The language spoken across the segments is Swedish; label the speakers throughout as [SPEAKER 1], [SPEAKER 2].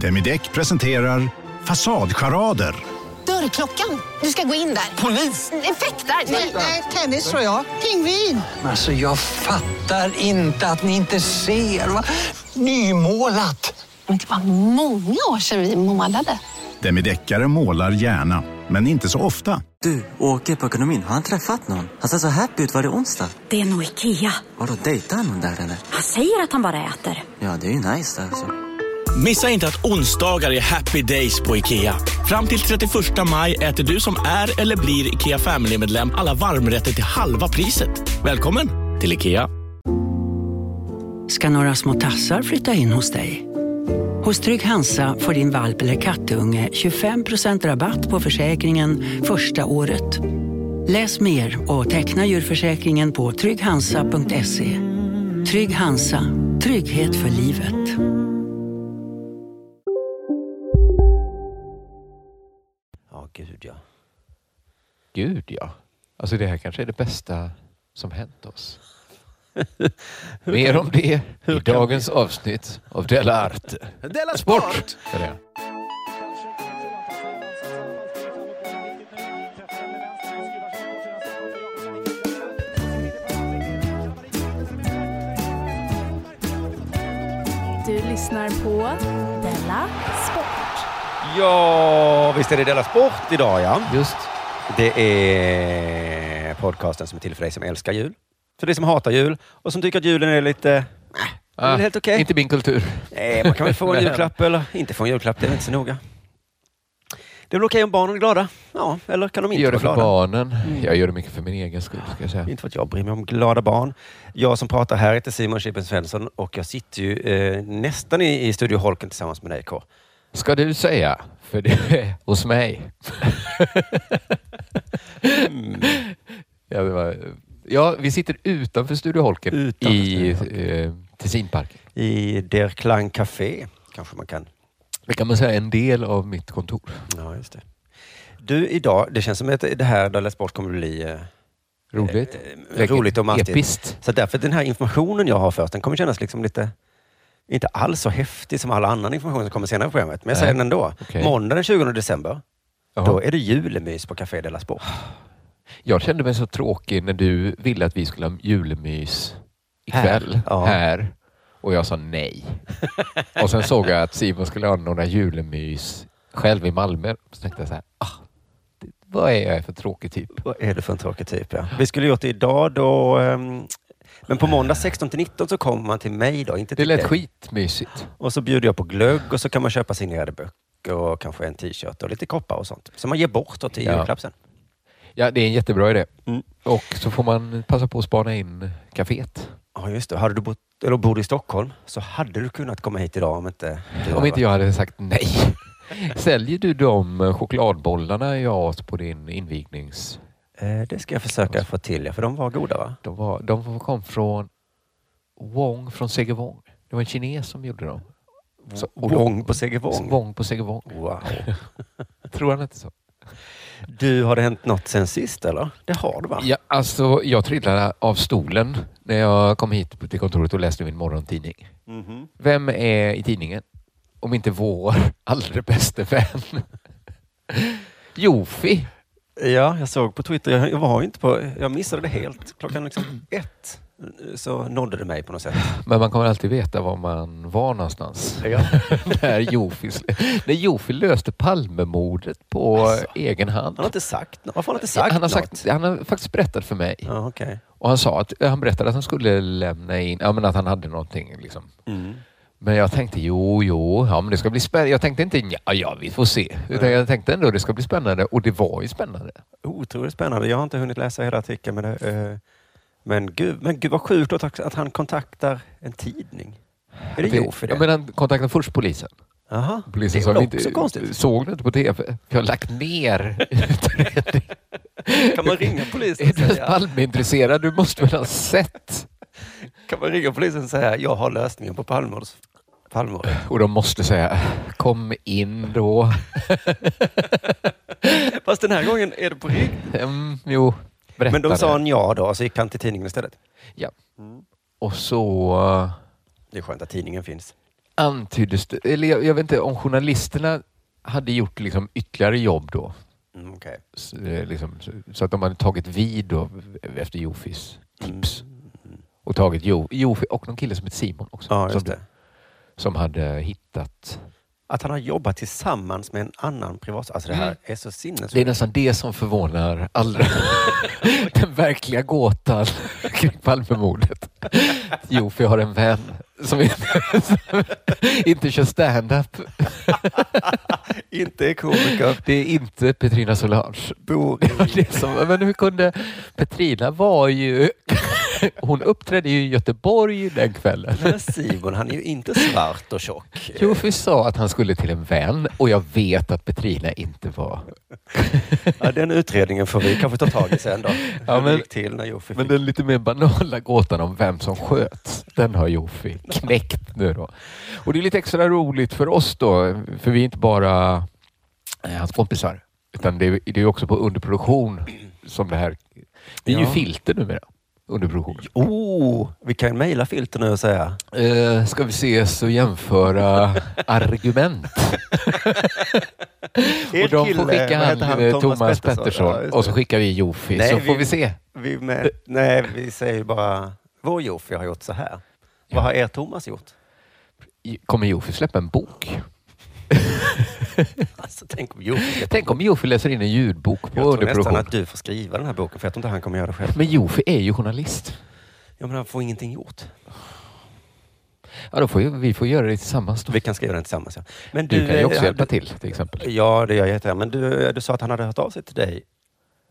[SPEAKER 1] Demideck presenterar Fasadcharader.
[SPEAKER 2] Dörrklockan. Du ska gå in där. Polis? Effektar? Nej, nej, tennis tror jag. Pingvin.
[SPEAKER 3] Alltså jag fattar inte att ni inte ser. Va? Nymålat!
[SPEAKER 2] Men det var många år sedan vi målade.
[SPEAKER 1] Demideckare målar gärna, men inte så ofta.
[SPEAKER 4] Du, åker på ekonomin. Har han träffat någon? Han ser så happy ut. Var det onsdag?
[SPEAKER 5] Det är nog Ikea.
[SPEAKER 4] Har du dejtar han någon där eller?
[SPEAKER 5] Han säger att han bara äter.
[SPEAKER 4] Ja, det är ju nice där alltså.
[SPEAKER 6] Missa inte att onsdagar är happy days på IKEA. Fram till 31 maj äter du som är eller blir IKEA Family-medlem alla varmrätter till halva priset. Välkommen till IKEA.
[SPEAKER 7] ska några små tassar flytta in hos dig. Hos Trygg Hansa får din valp eller kattunge 25% rabatt på försäkringen första året. Läs mer och teckna djurförsäkringen på trygghansa.se. Trygg Hansa, trygghet för livet.
[SPEAKER 4] Ja, gud ja.
[SPEAKER 8] Gud ja. Alltså det här kanske är det bästa som hänt oss. Mer om det i dagens avsnitt av Della Arte.
[SPEAKER 9] Della Sport!
[SPEAKER 8] Är det?
[SPEAKER 10] Du lyssnar på Della Sport.
[SPEAKER 9] Ja, visst är det Della Sport idag ja.
[SPEAKER 8] Just.
[SPEAKER 9] Det är podcasten som är till för dig som älskar jul, för dig som hatar jul och som tycker att julen är lite... Äh, det är
[SPEAKER 8] Ah,
[SPEAKER 9] väl helt okej.
[SPEAKER 8] Inte min kultur.
[SPEAKER 9] Nej, man Eh, kan väl få en
[SPEAKER 8] Men-
[SPEAKER 9] julklapp eller inte få en julklapp, det är inte så noga. Det är väl okej om barnen är glada? Ja, eller kan de
[SPEAKER 8] Jag
[SPEAKER 9] inte
[SPEAKER 8] gör det
[SPEAKER 9] vara
[SPEAKER 8] för
[SPEAKER 9] glada?
[SPEAKER 8] barnen. Jag gör det mycket för min egen skull. Ska jag säga.
[SPEAKER 9] Mm. Inte för att jag bryr mig om glada barn. Jag som pratar här heter Simon Chippen Svensson och jag sitter ju eh, nästan i, i Studio Holken tillsammans med dig K.
[SPEAKER 8] Ska du säga? För det är hos mig.
[SPEAKER 9] Mm.
[SPEAKER 8] ja, det var, ja, vi sitter utanför Studio Holken
[SPEAKER 9] Utanför
[SPEAKER 8] i
[SPEAKER 9] Studio
[SPEAKER 8] eh, Tessinparken.
[SPEAKER 9] I Der Klang Café kanske man kan
[SPEAKER 8] Det kan man säga är en del av mitt kontor.
[SPEAKER 9] Ja, just det. Du, idag, det känns som att det här Dalla Sport kommer bli eh,
[SPEAKER 8] Roligt.
[SPEAKER 9] eh, roligt och mastigt.
[SPEAKER 8] Episkt.
[SPEAKER 9] Så därför den här informationen jag har först, den kommer kännas liksom lite, inte alls så häftig som all annan information som kommer senare i programmet. Men jag säger
[SPEAKER 8] Nej.
[SPEAKER 9] den ändå.
[SPEAKER 8] Okej.
[SPEAKER 9] Måndag den 20 december, då
[SPEAKER 8] Jaha.
[SPEAKER 9] är det julemys på Café Della Sport.
[SPEAKER 8] Jag kände mig så tråkig när du ville att vi skulle ha julmys ikväll här.
[SPEAKER 9] Ja.
[SPEAKER 8] och jag sa nej. och sen såg jag att Simon skulle anordna julmys själv i Malmö. Så tänkte jag så här, ah, det- vad är jag för tråkig typ?
[SPEAKER 9] Vad är det för en tråkig typ? Ja. Vi skulle gjort det idag då, ehm, men på måndag 16 till 19 så kommer man till mig då, inte
[SPEAKER 8] Det
[SPEAKER 9] till
[SPEAKER 8] lät
[SPEAKER 9] dig.
[SPEAKER 8] skitmysigt.
[SPEAKER 9] Och så bjuder jag på glögg och så kan man köpa signerade böcker och kanske en t-shirt och lite koppar och sånt. Som man ger bort då till
[SPEAKER 8] Ja.
[SPEAKER 9] julklapp sen.
[SPEAKER 8] Ja, det är en jättebra idé.
[SPEAKER 9] Mm.
[SPEAKER 8] Och så får man passa på att spana in kaféet.
[SPEAKER 9] Ja, just det. Hade du bott, eller bor du i Stockholm så hade du kunnat komma hit idag om inte... du
[SPEAKER 8] Om
[SPEAKER 9] hade
[SPEAKER 8] inte jag hade sagt nej. Säljer du de eh, chokladbollarna jag åt på din invignings... Alltså.
[SPEAKER 9] varit- Eh, det ska jag försöka få till, ja, för de var goda va?
[SPEAKER 8] De, var, de kom från Wong från Segevång. Det var en kines som gjorde dem. Så- och de-
[SPEAKER 9] Wong på Segevång.
[SPEAKER 8] Wong på Segevång.
[SPEAKER 9] Wow.
[SPEAKER 8] Tror han inte så?
[SPEAKER 9] Du, har det hänt något sen sist eller? Det har det va?
[SPEAKER 8] Ja, alltså, jag trillade av stolen när jag kom hit till kontoret och läste min morgontidning.
[SPEAKER 9] Mhm.
[SPEAKER 8] Vem är i tidningen? Om inte vår allra bästa vän. Jofi.
[SPEAKER 9] Ja, jag såg på Twitter. Jag, jag var ju inte på... Jag missade det helt. Klockan liksom ett så nådde det mig på något sätt.
[SPEAKER 8] Men man kommer alltid veta var man var någonstans. när, Jofi, när Jofi löste Palmemordet på
[SPEAKER 9] Alltså.
[SPEAKER 8] egen hand.
[SPEAKER 9] Han har inte sagt något. Varför har han inte sagt
[SPEAKER 8] han, har
[SPEAKER 9] något?
[SPEAKER 8] sagt, han har faktiskt berättat för mig.
[SPEAKER 9] Ja, okej.
[SPEAKER 8] Och han, sa att, eh, han berättade att han skulle lämna in, ja, men att han hade någonting. Liksom.
[SPEAKER 9] Mm.
[SPEAKER 8] Men jag tänkte, jo, jo, ja, men det ska bli spännande. Jag tänkte inte, ja, ja, vi får se. Utan jag tänkte ändå, det ska bli spännande. Och det var ju spännande.
[SPEAKER 9] Otroligt spännande. Jag har inte hunnit läsa hela artikeln. Men, det, eh, men, gud, men gud vad sjukt att, att han kontaktar en tidning. Är det Jo för det?
[SPEAKER 8] Ja, men han kontaktade först polisen.
[SPEAKER 9] Aha.
[SPEAKER 8] Polisen
[SPEAKER 9] det är
[SPEAKER 8] sa,
[SPEAKER 9] väl
[SPEAKER 8] vi
[SPEAKER 9] också konstigt.
[SPEAKER 8] såg du inte på tv? Vi har lagt ner utredningen.
[SPEAKER 9] Kan man ringa polisen
[SPEAKER 8] Är
[SPEAKER 9] och
[SPEAKER 8] du ens
[SPEAKER 9] säga,
[SPEAKER 8] Palmeintresserad? Du måste väl ha sett?
[SPEAKER 9] kan man ringa polisen och säga jag har lösningen på Palmemordet? Palmemordet.
[SPEAKER 8] Och de måste säga, kom in då.
[SPEAKER 9] Fast den här gången är det på riktigt.
[SPEAKER 8] Mm, jo, berätta
[SPEAKER 9] Men då
[SPEAKER 8] det.
[SPEAKER 9] sa han ja då,
[SPEAKER 8] alltså
[SPEAKER 9] så gick han
[SPEAKER 8] Mm.
[SPEAKER 9] till tidningen istället.
[SPEAKER 8] Och så...
[SPEAKER 9] Det är skönt att tidningen finns. antyddes det, eller jag, jag vet inte om journalisterna hade gjort liksom ytterligare jobb då.
[SPEAKER 8] Mm, okej.
[SPEAKER 9] S- eh, Liksom, så- så att de hade tagit vid då, efter Jofis tips.
[SPEAKER 8] Mm.
[SPEAKER 9] Och tagit jo, Jofi och någon kille som heter Simon också.
[SPEAKER 8] Ja,
[SPEAKER 9] som,
[SPEAKER 8] just det.
[SPEAKER 9] som hade hittat.
[SPEAKER 8] Att han har jobbat tillsammans med en annan privat... Alltså det här
[SPEAKER 9] Mm.
[SPEAKER 8] är så sinnessjukt.
[SPEAKER 9] Det är nästan det som förvånar allra. Den verkliga gåtan kring Palmemordet. Jofi har en vän som inte, som inte kör stand-up.
[SPEAKER 8] Inte är komiker.
[SPEAKER 9] Det är inte Petrina Solange.
[SPEAKER 8] Bor
[SPEAKER 9] Det är som, men hur kunde... Petrina var ju... Hon uppträdde ju i Göteborg den kvällen.
[SPEAKER 8] Men Simon, han är ju inte svart och tjock.
[SPEAKER 9] Jofi sa att han skulle till en vän och jag vet att Petrina inte var...
[SPEAKER 8] Ja, den utredningen får vi kanske ta tag i sen då. Hur det
[SPEAKER 9] men-
[SPEAKER 8] gick till när Jofi
[SPEAKER 9] Men
[SPEAKER 8] fick...
[SPEAKER 9] den lite mer banala gåtan om vem som sköts, den har Jofi knäckt nu då. Och det är lite extra roligt för oss då, för vi är inte bara eh, hans kompisar, utan det är det är ju också på underproduktion som det här... Det är ju
[SPEAKER 8] Ja.
[SPEAKER 9] filter numera, underproduktion.
[SPEAKER 8] Oh, vi kan mejla filter nu och säga.
[SPEAKER 9] Eh, ska vi ses och jämföra argument? och de får skicka han, eh, Thomas, Pettersson, och så skickar vi Jofi,
[SPEAKER 8] Nej,
[SPEAKER 9] så
[SPEAKER 8] vi-
[SPEAKER 9] får vi se.
[SPEAKER 8] vi med, Nej, vi säger bara vår Jofi har gjort så här. Vad har er Thomas gjort?
[SPEAKER 9] Kommer Jofi släppa en bok?
[SPEAKER 8] Alltså, tänk om Jofi... Jag
[SPEAKER 9] Tänk om Jofi läser in en ljudbok på
[SPEAKER 8] tror nästan
[SPEAKER 9] underproduktion.
[SPEAKER 8] att du får skriva den här boken, för jag tror inte han kommer göra det själv.
[SPEAKER 9] Men Jofi är ju journalist.
[SPEAKER 8] Ja, men han får ingenting gjort.
[SPEAKER 9] Ja, då får ju, vi får göra det tillsammans. Då.
[SPEAKER 8] Vi kan skriva den tillsammans. Ja. Men
[SPEAKER 9] Du kan ju också
[SPEAKER 8] eh,
[SPEAKER 9] hjälpa
[SPEAKER 8] du-
[SPEAKER 9] till till exempel.
[SPEAKER 8] Ja, det gör jag jättegärna. Men du, du sa att han hade hört av sig till dig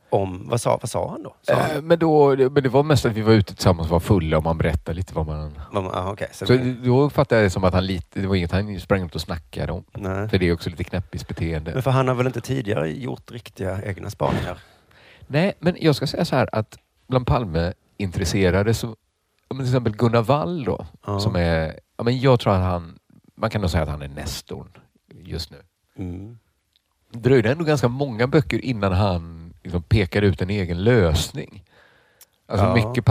[SPEAKER 8] om... Vad sa, vad sa han då? Sa han,
[SPEAKER 9] Eh, Men, då, men det var mest att vi var ute tillsammans och var fulla och man berättade lite vad man...
[SPEAKER 8] vad- ah, okej, så,
[SPEAKER 9] Så då uppfattade jag det som att han lite, det var inget han sprang runt och snackade om.
[SPEAKER 8] nej.
[SPEAKER 9] För det är också lite knäppis beteende.
[SPEAKER 8] Men för han har väl inte tidigare gjort riktiga egna spaningar?
[SPEAKER 9] Nej, men jag ska säga så här att bland Palme-intresserade så, ja, men till exempel Gunnar Wall då,
[SPEAKER 8] Ja.
[SPEAKER 9] som är, ja, men jag tror att han, man kan nog säga att han är nestorn just nu.
[SPEAKER 8] Mm.
[SPEAKER 9] Det dröjde ändå ganska många böcker innan han liksom pekade ut en egen lösning. Alltså
[SPEAKER 8] Ja.
[SPEAKER 9] Mycket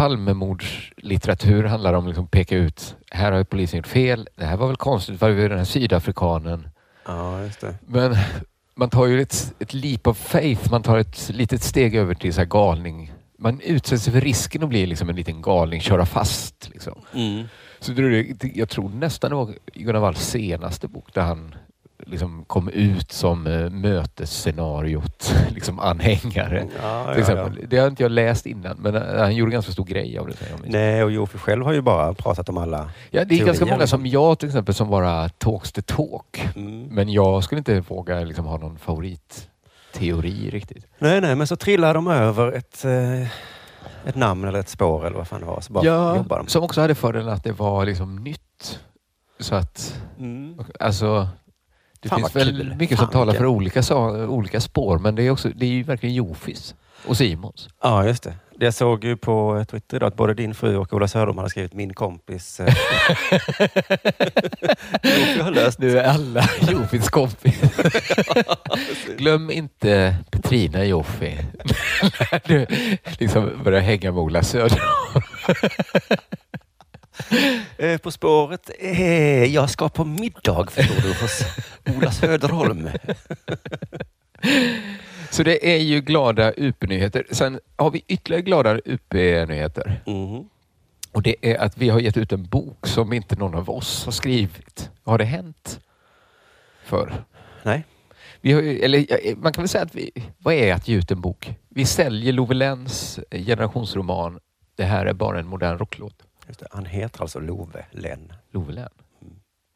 [SPEAKER 9] Palmemordslitteratur handlar om att liksom peka ut, här har ju polisen gjort fel, det här var väl konstigt, varför är den här sydafrikanen?
[SPEAKER 8] Ja, just det.
[SPEAKER 9] Men man tar ju ett, ett leap of faith. Man tar ett litet steg över till så här galning. Man utsätts för risken att bli liksom en liten galning, köra fast. Liksom.
[SPEAKER 8] Mm.
[SPEAKER 9] Så det, är- det- jag tror nästan det var Gunnar Walls senaste bok där han liksom kom ut som eh, mötesscenariot liksom anhängare.
[SPEAKER 8] Ja,
[SPEAKER 9] Till
[SPEAKER 8] ja, ja.
[SPEAKER 9] exempel. Det har inte jag läst innan, men eh, han gjorde ganska stor grej av det. säger jag.
[SPEAKER 8] Nej, och Jofi själv har ju bara pratat om alla...
[SPEAKER 9] Ja, det är ganska
[SPEAKER 8] teorier.
[SPEAKER 9] många som jag till exempel som bara talks the talk.
[SPEAKER 8] Mm.
[SPEAKER 9] Men jag skulle inte våga liksom ha någon favoritteori riktigt.
[SPEAKER 8] Nej, nej, men så trillar de över ett, eh, ett namn eller ett spår eller vad fan det var. Så bara jobbar de.
[SPEAKER 9] Som också hade fördelen att det var liksom nytt. Så att,
[SPEAKER 8] Mm.
[SPEAKER 9] alltså, det
[SPEAKER 8] Fan,
[SPEAKER 9] finns
[SPEAKER 8] vad
[SPEAKER 9] väl
[SPEAKER 8] kul.
[SPEAKER 9] mycket
[SPEAKER 8] Fan,
[SPEAKER 9] som talar
[SPEAKER 8] vilken-
[SPEAKER 9] för olika, sa- olika spår, men det är, också, det är ju verkligen Jofis och Simons.
[SPEAKER 8] Ja, just det. Det Jag såg ju på eh, Twitter idag att både din fru och Ola Söderholm hade skrivit min kompis. eh, Jofi har löst
[SPEAKER 9] Nu är alla Jofis kompis. Glöm inte Petrina Jofi. När du liksom börjar hänga med Ola Söder.
[SPEAKER 8] Eh, På spåret. Eh, jag ska på middag förstår du hos Ola Söderholm.
[SPEAKER 9] Så det är ju glada UP-nyheter. Sen har vi ytterligare glada UP-nyheter.
[SPEAKER 8] Mm.
[SPEAKER 9] Och det är att vi har gett ut en bok som inte någon av oss har skrivit. Har det hänt? För.
[SPEAKER 8] Nej.
[SPEAKER 9] Vi har, ju- eller, ja, man kan väl säga att vi, vad är att ge ut en bok? Vi säljer Love Lenns generationsroman Det här är bara en modern rocklåt.
[SPEAKER 8] Just det. Han heter alltså Love Lenn.
[SPEAKER 9] Love Lenn.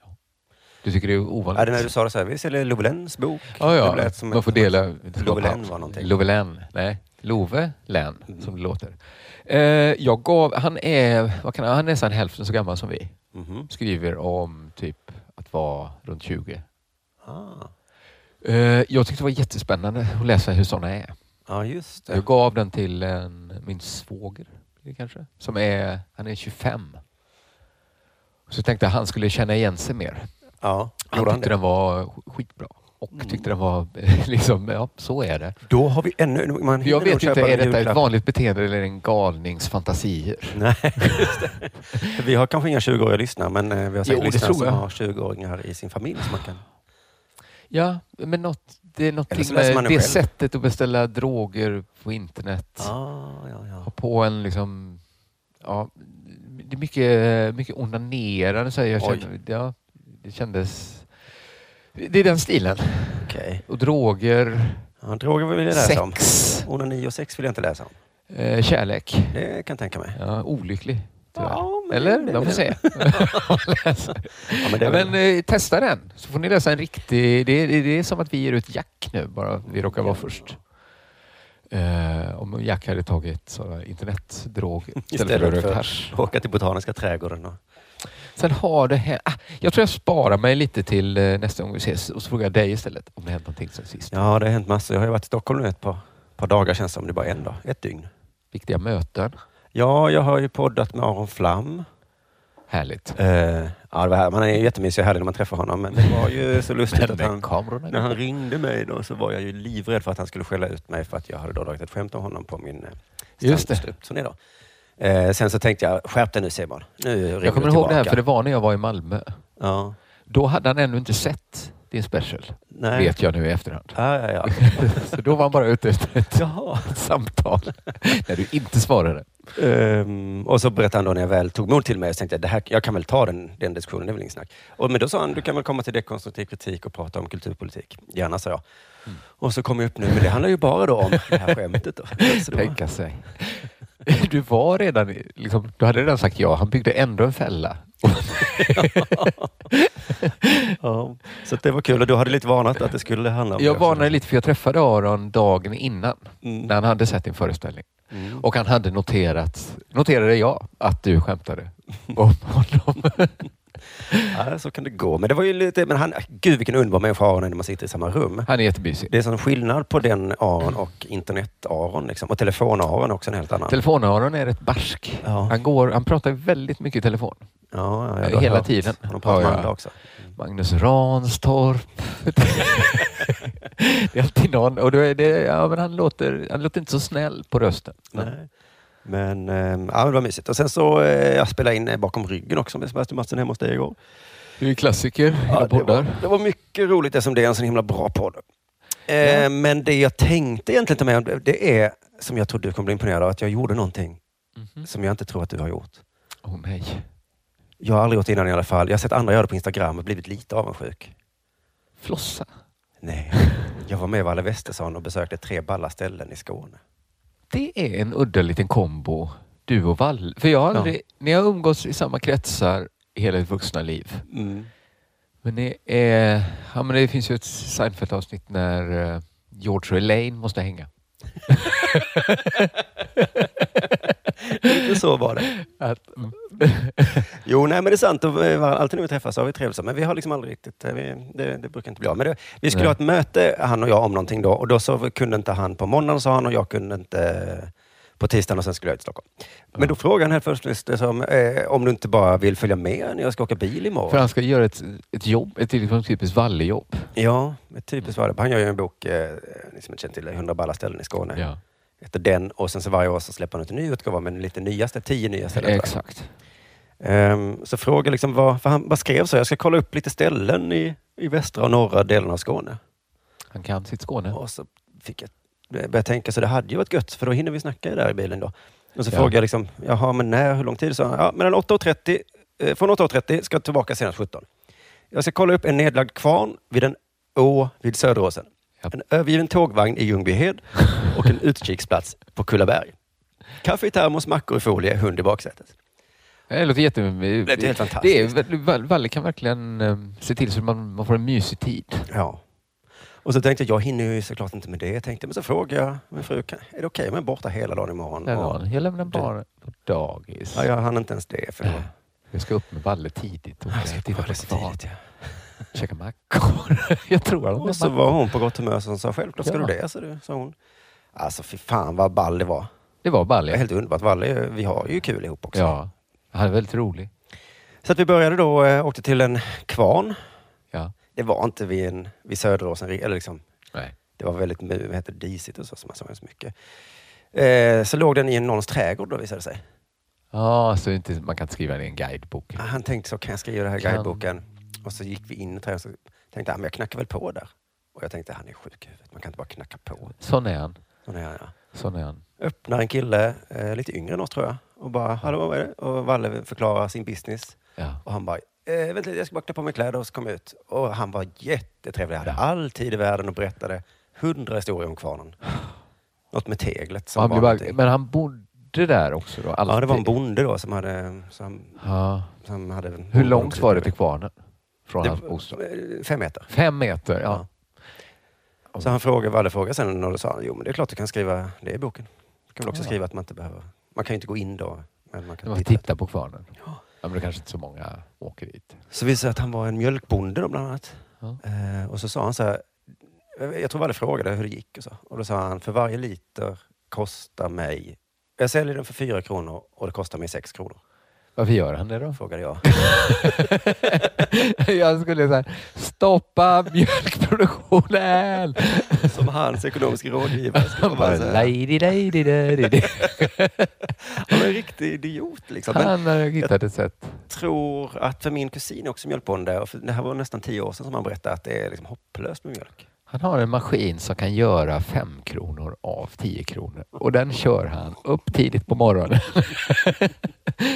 [SPEAKER 9] Ja. Du tycker det är
[SPEAKER 8] Mm. Ja, det är
[SPEAKER 9] ovanligt?
[SPEAKER 8] när du sa det så här, vi säljer Love Lenns bok.
[SPEAKER 9] Ja,
[SPEAKER 8] Det
[SPEAKER 9] ja.
[SPEAKER 8] lät som
[SPEAKER 9] Man
[SPEAKER 8] ett-
[SPEAKER 9] får dela.
[SPEAKER 8] Love Lenn var någonting. Mm.
[SPEAKER 9] Love Lenn. Nej, Love Lenn, som det låter. Eh, jag gav, han är, vad kan han, han är nästan hälften så gammal som vi.
[SPEAKER 8] Mhm.
[SPEAKER 9] Skriver om typ att vara runt 20.
[SPEAKER 8] Ah.
[SPEAKER 9] Eh, jag tyckte det var jättespännande att läsa hur sådana är.
[SPEAKER 8] Ja, just det.
[SPEAKER 9] Jag gav den till en, min svåger, blir det kanske, som är, han är 25. Så jag tänkte att han skulle känna igen sig mer.
[SPEAKER 8] Ja,
[SPEAKER 9] Han
[SPEAKER 8] gjorde han
[SPEAKER 9] tyckte
[SPEAKER 8] det? Mm.
[SPEAKER 9] den var sk- skitbra. och tyckte den var liksom, ja så är det.
[SPEAKER 8] Då har vi ännu... Man hinner
[SPEAKER 9] Jag
[SPEAKER 8] nog
[SPEAKER 9] vet
[SPEAKER 8] köpa
[SPEAKER 9] inte,
[SPEAKER 8] en
[SPEAKER 9] är detta ett
[SPEAKER 8] julklapp.
[SPEAKER 9] vanligt beteende eller en galnings fantasier?
[SPEAKER 8] Nej, just det. Vi har kanske inga 20-åriga lyssnare, men eh, vi har säkert
[SPEAKER 9] Jo, det
[SPEAKER 8] lyssnare
[SPEAKER 9] tror
[SPEAKER 8] som
[SPEAKER 9] jag.
[SPEAKER 8] har 20-åringar i sin familj. Som man kan...
[SPEAKER 9] Ja, men något, det är
[SPEAKER 8] Eller så
[SPEAKER 9] någonting
[SPEAKER 8] läser man
[SPEAKER 9] med
[SPEAKER 8] det
[SPEAKER 9] det
[SPEAKER 8] själv.
[SPEAKER 9] sättet att beställa droger på internet.
[SPEAKER 8] ah, ja, ja.
[SPEAKER 9] ha på en liksom... Ja, det är mycket, mycket onanerande. Så här, jag
[SPEAKER 8] Oj.
[SPEAKER 9] känner, ja, det kändes... Det är den stilen.
[SPEAKER 8] Okej.
[SPEAKER 9] Och droger,
[SPEAKER 8] Ja, droger vill jag läsa om.
[SPEAKER 9] sex,
[SPEAKER 8] Onani och sex vill jag inte läsa om.
[SPEAKER 9] eh, kärlek.
[SPEAKER 8] Det kan jag tänka mig.
[SPEAKER 9] Ja, olycklig. tyvärr.
[SPEAKER 8] Ja, men det-
[SPEAKER 9] Eller?
[SPEAKER 8] det-
[SPEAKER 9] De får se. Läs.
[SPEAKER 8] Ja, men
[SPEAKER 9] ja,
[SPEAKER 8] det är väl-
[SPEAKER 9] men, eh, testa den, så får ni läsa en riktig... Det, är- det är som att vi ger ut Jack nu, bara vi råkar vara först. Eh, om Jack hade tagit sådana internetdrog istället för
[SPEAKER 8] Istället
[SPEAKER 9] rökt
[SPEAKER 8] för-
[SPEAKER 9] hasch.
[SPEAKER 8] Åka till Botaniska trädgården. Och...
[SPEAKER 9] Sen har det hänt... Ah, jag tror jag sparar mig lite till eh, nästa gång vi ses och så frågar jag dig istället om det hänt någonting sen sist.
[SPEAKER 8] Ja, det har hänt massor. Jag har ju varit i Stockholm nu ett par, par dagar känns det som. Det är bara en dag. Ett dygn.
[SPEAKER 9] Viktiga möten.
[SPEAKER 8] Ja, jag har ju poddat med Aron Flam.
[SPEAKER 9] Härligt.
[SPEAKER 8] Eh, ja, det var här. Man är ju jättemysig och härlig när man träffar honom, men det var ju så lustigt
[SPEAKER 9] Men
[SPEAKER 8] att
[SPEAKER 9] med
[SPEAKER 8] han...
[SPEAKER 9] kamerorna.
[SPEAKER 8] När han ringde mig då så var jag ju livrädd för att han skulle skälla ut mig för att jag hade då dragit ett skämt om honom på min eh,
[SPEAKER 9] Just det.
[SPEAKER 8] standup-turné då. Eh, sen så tänkte jag, skärp dig nu Simon. Nu ringer
[SPEAKER 9] Jag kommer
[SPEAKER 8] du
[SPEAKER 9] ihåg det här
[SPEAKER 8] tillbaka."
[SPEAKER 9] för det var när jag var i Malmö.
[SPEAKER 8] Ja.
[SPEAKER 9] Då hade han ännu inte sett din special.
[SPEAKER 8] Nej.
[SPEAKER 9] Vet jag nu i efterhand.
[SPEAKER 8] Ja, ja, ja.
[SPEAKER 9] så då var han bara ute efter ett
[SPEAKER 8] Jaha.
[SPEAKER 9] samtal när du inte svarade.
[SPEAKER 8] Ehm, och så berättade han då när jag väl tog mod till mig, så tänkte jag, det här, jag kan väl ta den, den diskussionen, det är väl ingen snack. Och, men då sa han, du kan väl komma till dekonstruktiv kritik och prata om kulturpolitik. Gärna, sa jag. Och så kom jag upp nu, men det handlar ju bara då om det här skämtet. Då. Så det var-
[SPEAKER 9] Tänka sig. Du var redan, i- liksom, du hade redan sagt ja. Han byggde ändå en fälla.
[SPEAKER 8] Ja, så att det var kul. Och du hade lite varnat att det skulle handla om
[SPEAKER 9] Jag
[SPEAKER 8] det.
[SPEAKER 9] varnade lite för jag träffade Aron dagen innan
[SPEAKER 8] Mm.
[SPEAKER 9] när han hade sett din föreställning.
[SPEAKER 8] Mm.
[SPEAKER 9] Och han hade noterat, noterade jag, att du skämtade om honom.
[SPEAKER 8] Ja, så kan det gå. Men det var ju lite... Men han, gud vilken underbar människa Aron är när man sitter i samma rum.
[SPEAKER 9] Han är jättemysig.
[SPEAKER 8] Det är sån skillnad på den Aron och internet-Aron. Liksom. Och telefon-Aron är också en helt annan.
[SPEAKER 9] Telefon-Aron är rätt barsk.
[SPEAKER 8] Ja.
[SPEAKER 9] Han, går, han pratar väldigt mycket i telefon.
[SPEAKER 8] ja, ja, jag
[SPEAKER 9] Hela
[SPEAKER 8] har hört.
[SPEAKER 9] tiden.
[SPEAKER 8] De pratar
[SPEAKER 9] Ja,
[SPEAKER 8] med
[SPEAKER 9] ja.
[SPEAKER 8] andra också. Mm.
[SPEAKER 9] Magnus Ranstorp. det är alltid någon. Och då är det, ja, men han, låter, han låter inte så snäll på rösten.
[SPEAKER 8] Nej. Men, ehm, ja, men det var mysigt. Och sen så eh, jag spelade in eh, Bakom ryggen också med Sebastian Mattsson hemma hos dig igår.
[SPEAKER 9] Du är klassiker i
[SPEAKER 8] Ja, det,
[SPEAKER 9] poddar.
[SPEAKER 8] var, det var mycket roligt eftersom det är en så himla bra podd. Eh, Men det jag tänkte egentligen ta med om det- det är, som jag tror du kommer bli imponerad av, att jag gjorde någonting
[SPEAKER 9] Mhm.
[SPEAKER 8] som jag inte tror att du har gjort.
[SPEAKER 9] Åh nej.
[SPEAKER 8] Jag har aldrig gjort det innan i alla fall. Jag har sett andra göra det på Instagram och blivit lite avundsjuk.
[SPEAKER 9] Flossa.
[SPEAKER 8] Nej. Jag var med Valle Westesson och besökte tre balla ställen i Skåne.
[SPEAKER 9] Det är en udda liten kombo, du och Valle. För jag har
[SPEAKER 8] Ja.
[SPEAKER 9] aldrig, ni har umgåtts i samma kretsar i hela ert vuxna liv.
[SPEAKER 8] Mm.
[SPEAKER 9] Men det, är, ja, men det finns ju ett Seinfeld-avsnitt när eh, George och Elaine måste hänga.
[SPEAKER 8] Lite så var det.
[SPEAKER 9] Att, mm.
[SPEAKER 8] Jo, nej, men det är sant. Och, eh, var- Alltid när vi träffas så har vi trevligt. så. Men vi har liksom aldrig riktigt... eh, Vi, det, det brukar inte bli av. Men det, vi skulle
[SPEAKER 9] Nej.
[SPEAKER 8] ha ett möte, han och jag, om någonting då. Och då så kunde inte han på måndagen, sa han, och jag kunde inte eh, på tisdagen och sen skulle jag till Stockholm. Men då frågade han helt först liksom, eh, om du inte bara vill följa med när jag ska åka bil imorgon.
[SPEAKER 9] För han ska göra ett, ett jobb, ett liksom typiskt Valle-jobb.
[SPEAKER 8] Ja, ett typiskt var det. Han gör ju en bok, eh, ni som inte känner till det, 100 balla ställen i Skåne.
[SPEAKER 9] Ja.
[SPEAKER 8] Heter den och sen så varje år så släpper han ut en ny utgåva med lite nyaste, tio nya ställen. tror jag.
[SPEAKER 9] Exakt.
[SPEAKER 8] Ehm, så fråga liksom vad, för han bara skrev så, jag ska kolla upp lite ställen i, i västra och norra delen av Skåne.
[SPEAKER 9] Han kan sitt Skåne.
[SPEAKER 8] Och så fick jag börja tänka, så det hade ju varit gött, för då hinner vi snacka där i bilen då. Och så
[SPEAKER 9] Ja.
[SPEAKER 8] frågade jag liksom, jaha, men när, hur lång tid? Så han, ja, mellan 8.30, eh, från 8.30 ska jag tillbaka senast 17. Jag ska kolla upp en nedlagd kvarn vid en å vid Söderåsen.
[SPEAKER 9] Japp.
[SPEAKER 8] En övergiven tågvagn i Ljungbyhed och en utkiksplats på Kullaberg. Kaffe i termos, mackor i folie, hund i baksätet.
[SPEAKER 9] Det låter jätte...
[SPEAKER 8] Det låter helt
[SPEAKER 9] Det är,
[SPEAKER 8] fantastiskt.
[SPEAKER 9] Valle- Valle kan verkligen eh, se till så att man, man får en mysig tid.
[SPEAKER 8] Ja. Och så tänkte jag, jag hinner ju såklart inte med det. Jag tänkte, men så frågade jag min fru, kan- är det okej om jag är borta hela dagen imorgon?
[SPEAKER 9] Den
[SPEAKER 8] Och-
[SPEAKER 9] dagen. Jag lämnar barnen på dagis.
[SPEAKER 8] Ja, jag hann inte ens det. För då,
[SPEAKER 9] Jag ska upp med Valle tidigt och
[SPEAKER 8] Jag ska
[SPEAKER 9] titta
[SPEAKER 8] bara
[SPEAKER 9] på
[SPEAKER 8] så
[SPEAKER 9] stan.
[SPEAKER 8] tidigt, ja.
[SPEAKER 9] Käka mackor. Jag tror han
[SPEAKER 8] Och så
[SPEAKER 9] var
[SPEAKER 8] var hon på gott humör så hon sa självklart ska
[SPEAKER 9] Ja.
[SPEAKER 8] du det, sa, du, sa hon. Alltså fy fan vad ball det var.
[SPEAKER 9] Det var
[SPEAKER 8] Det är
[SPEAKER 9] Valle.
[SPEAKER 8] helt underbart. Valle, är ju- vi har ju kul ihop också.
[SPEAKER 9] Ja. Han är väldigt rolig.
[SPEAKER 8] Så att vi började då, eh, åkte till en kvarn.
[SPEAKER 9] Ja.
[SPEAKER 8] Det det var inte vid, en, vid Söderåsen, eller liksom,
[SPEAKER 9] Nej.
[SPEAKER 8] det var väldigt mu- vad heter det, disigt och så, så man såg inte så mycket. Eh, så låg den i någons trädgård då visade det sig.
[SPEAKER 9] Ja, så inte, man kan inte skriva det i en guidebok.
[SPEAKER 8] Ah, Han tänkte så, kan jag skriva det här i
[SPEAKER 9] Kan.
[SPEAKER 8] guideboken? Och så gick vi in i trädgården och så tänkte han, men jag knackar väl på där. Och jag tänkte, han är sjuk i huvudet, man kan inte bara knacka på.
[SPEAKER 9] Sån är han.
[SPEAKER 8] Och när jag,
[SPEAKER 9] Sån är han.
[SPEAKER 8] öppnar en kille, eh, lite yngre än oss tror jag, och bara, hallå vad är det? Och Valle förklarar sin business.
[SPEAKER 9] Ja.
[SPEAKER 8] Och han bara, eh, vänta lite, jag ska bara klä på mig kläder och så kom jag ut. Och han var jättetrevlig, hade all tid i världen och berättade hundra historier om kvarnen. Något med teglet som
[SPEAKER 9] Han
[SPEAKER 8] var
[SPEAKER 9] blev bara,
[SPEAKER 8] någonting.
[SPEAKER 9] men alltså han bodde där också då? Alltid.
[SPEAKER 8] Ja, det var en bonde då som hade... Som,
[SPEAKER 9] Ja.
[SPEAKER 8] som hade
[SPEAKER 9] Hur långt var det till kvarnen? Från hans bostad?
[SPEAKER 8] bostad? Fem meter.
[SPEAKER 9] Fem meter? Ja.
[SPEAKER 8] Så han frågade, Valle frågade sen och då sa han, jo men det är klart du kan skriva det i boken. Du kan väl också skriva att man inte behöver... Man kan ju inte gå in då. Men man
[SPEAKER 9] När
[SPEAKER 8] kan
[SPEAKER 9] man
[SPEAKER 8] titta.
[SPEAKER 9] tittar på kvarnen? Ja. Men det kanske inte så många åker dit.
[SPEAKER 8] Så visade det sig att han var en mjölkbonde då bland annat.
[SPEAKER 9] Ja.
[SPEAKER 8] Eh, och så sa han så här, jag tror Valle frågade hur det gick och så. Och då sa han, för varje liter kostar mig, jag säljer den för fyra kronor och det kostar mig sex kronor.
[SPEAKER 9] Varför gör han det då?
[SPEAKER 8] Frågade jag.
[SPEAKER 9] Jag skulle säga stoppa mjölkproduktionen!
[SPEAKER 8] Som hans ekonomiska rådgivare. skulle
[SPEAKER 9] Han bara,
[SPEAKER 8] vara så här.
[SPEAKER 9] lady, lady, lady.
[SPEAKER 8] Han var en riktig idiot liksom. Men
[SPEAKER 9] Han har hittat ett sätt.
[SPEAKER 8] jag tror att, för min kusin är också mjölkbonde, och för det här var nästan tio år sedan som han berättade att det är liksom hopplöst med mjölk.
[SPEAKER 9] Han har en maskin som kan göra fem kronor av tio kronor och den kör han upp tidigt på morgonen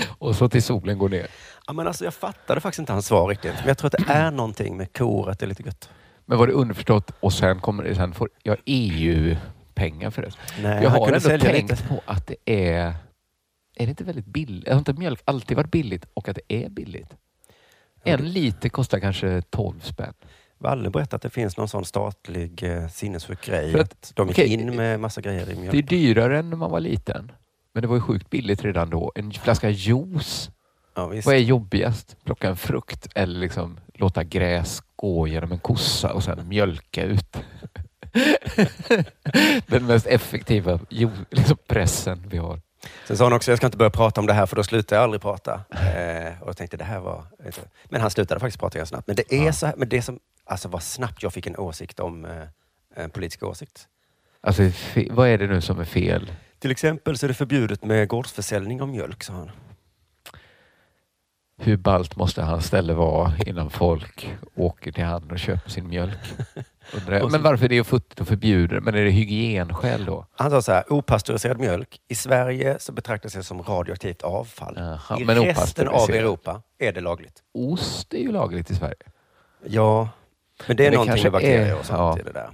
[SPEAKER 9] och så till solen går ner.
[SPEAKER 8] Ja, men alltså, jag fattade faktiskt inte hans svar riktigt. Men jag tror att det är någonting med kor, att det är lite gött.
[SPEAKER 9] Men var det underförstått och sen, kommer, det- sen får jag EU-pengar för det.
[SPEAKER 8] Nej,
[SPEAKER 9] jag
[SPEAKER 8] han
[SPEAKER 9] har
[SPEAKER 8] kunde
[SPEAKER 9] ändå
[SPEAKER 8] sälja
[SPEAKER 9] tänkt
[SPEAKER 8] lite.
[SPEAKER 9] på att det är... Är det inte väldigt billigt? Har inte mjölk alltid varit billigt och att det är billigt? En liter kostar kanske 12 spänn.
[SPEAKER 8] Valle berättade att det finns någon sån statlig eh, sinnessjuk grej.
[SPEAKER 9] För
[SPEAKER 8] Att,
[SPEAKER 9] att-
[SPEAKER 8] de gick
[SPEAKER 9] okej,
[SPEAKER 8] in med massa grejer i mjölk.
[SPEAKER 9] Det är dyrare än när man var liten. Men det var ju sjukt billigt redan då. En flaska juice.
[SPEAKER 8] ja, visst.
[SPEAKER 9] Vad är jobbigast? Plocka en frukt eller liksom låta gräs gå genom en kossa och sen mjölka ut? Den mest effektiva ju- liksom pressen vi har.
[SPEAKER 8] Sen sa han också, jag ska inte börja prata om det här för då slutar jag aldrig prata. Eh, och jag tänkte, det här var... Men han slutade faktiskt prata ganska snabbt. Men det är så här, men det som... Alltså vad snabbt jag fick en åsikt om eh, en politisk åsikt.
[SPEAKER 9] Alltså, fe- vad är det nu som är fel?
[SPEAKER 8] Till exempel så är det förbjudet med gårdsförsäljning av mjölk, sa han.
[SPEAKER 9] Hur ballt måste hans ställe vara innan folk åker till han och köper sin mjölk? Undrar jag. Men varför är det ju futtigt att förbjuda det? Men är det hygienskäl då?
[SPEAKER 8] Han sa så här, opastöriserad mjölk. I Sverige så betraktas det som radioaktivt avfall.
[SPEAKER 9] Jaha,
[SPEAKER 8] I
[SPEAKER 9] men
[SPEAKER 8] resten av
[SPEAKER 9] opastöriserad.
[SPEAKER 8] Europa är det lagligt.
[SPEAKER 9] Ost är ju lagligt i Sverige.
[SPEAKER 8] Ja, men det
[SPEAKER 9] Men det
[SPEAKER 8] är någonting
[SPEAKER 9] kanske
[SPEAKER 8] med bakterier
[SPEAKER 9] är-
[SPEAKER 8] och sånt
[SPEAKER 9] ja.
[SPEAKER 8] i det där.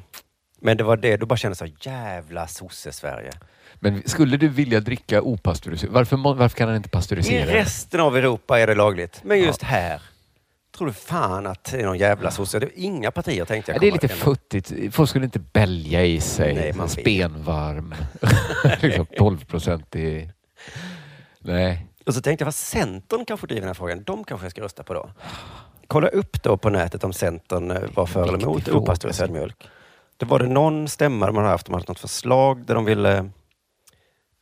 [SPEAKER 8] Men det var det, då bara kände jag så här, jävla sosse-Sverige.
[SPEAKER 9] Men skulle du vilja dricka opastöriserat? Varför, må- varför kan han inte
[SPEAKER 8] I
[SPEAKER 9] pastörisera? det?
[SPEAKER 8] resten av Europa är det lagligt, men just här tror du fan att det är någon jävla sosse. Det är inga partier tänkte
[SPEAKER 9] Ja,
[SPEAKER 8] jag.
[SPEAKER 9] det är
[SPEAKER 8] komma
[SPEAKER 9] lite
[SPEAKER 8] igen.
[SPEAKER 9] futtigt. Folk skulle inte bälja i sig
[SPEAKER 8] Nej, man vet.
[SPEAKER 9] spenvarm. liksom 12 procent i... Nej.
[SPEAKER 8] Och så tänkte jag, vad Centern kanske driver den här frågan. De kanske jag ska rösta på då. Kolla upp då på nätet om Centern eh, var för eller
[SPEAKER 9] Viktig
[SPEAKER 8] emot
[SPEAKER 9] fråga.
[SPEAKER 8] opastöriserad mjölk. Det var det någon stämma de hade haft, de hade haft något förslag där de ville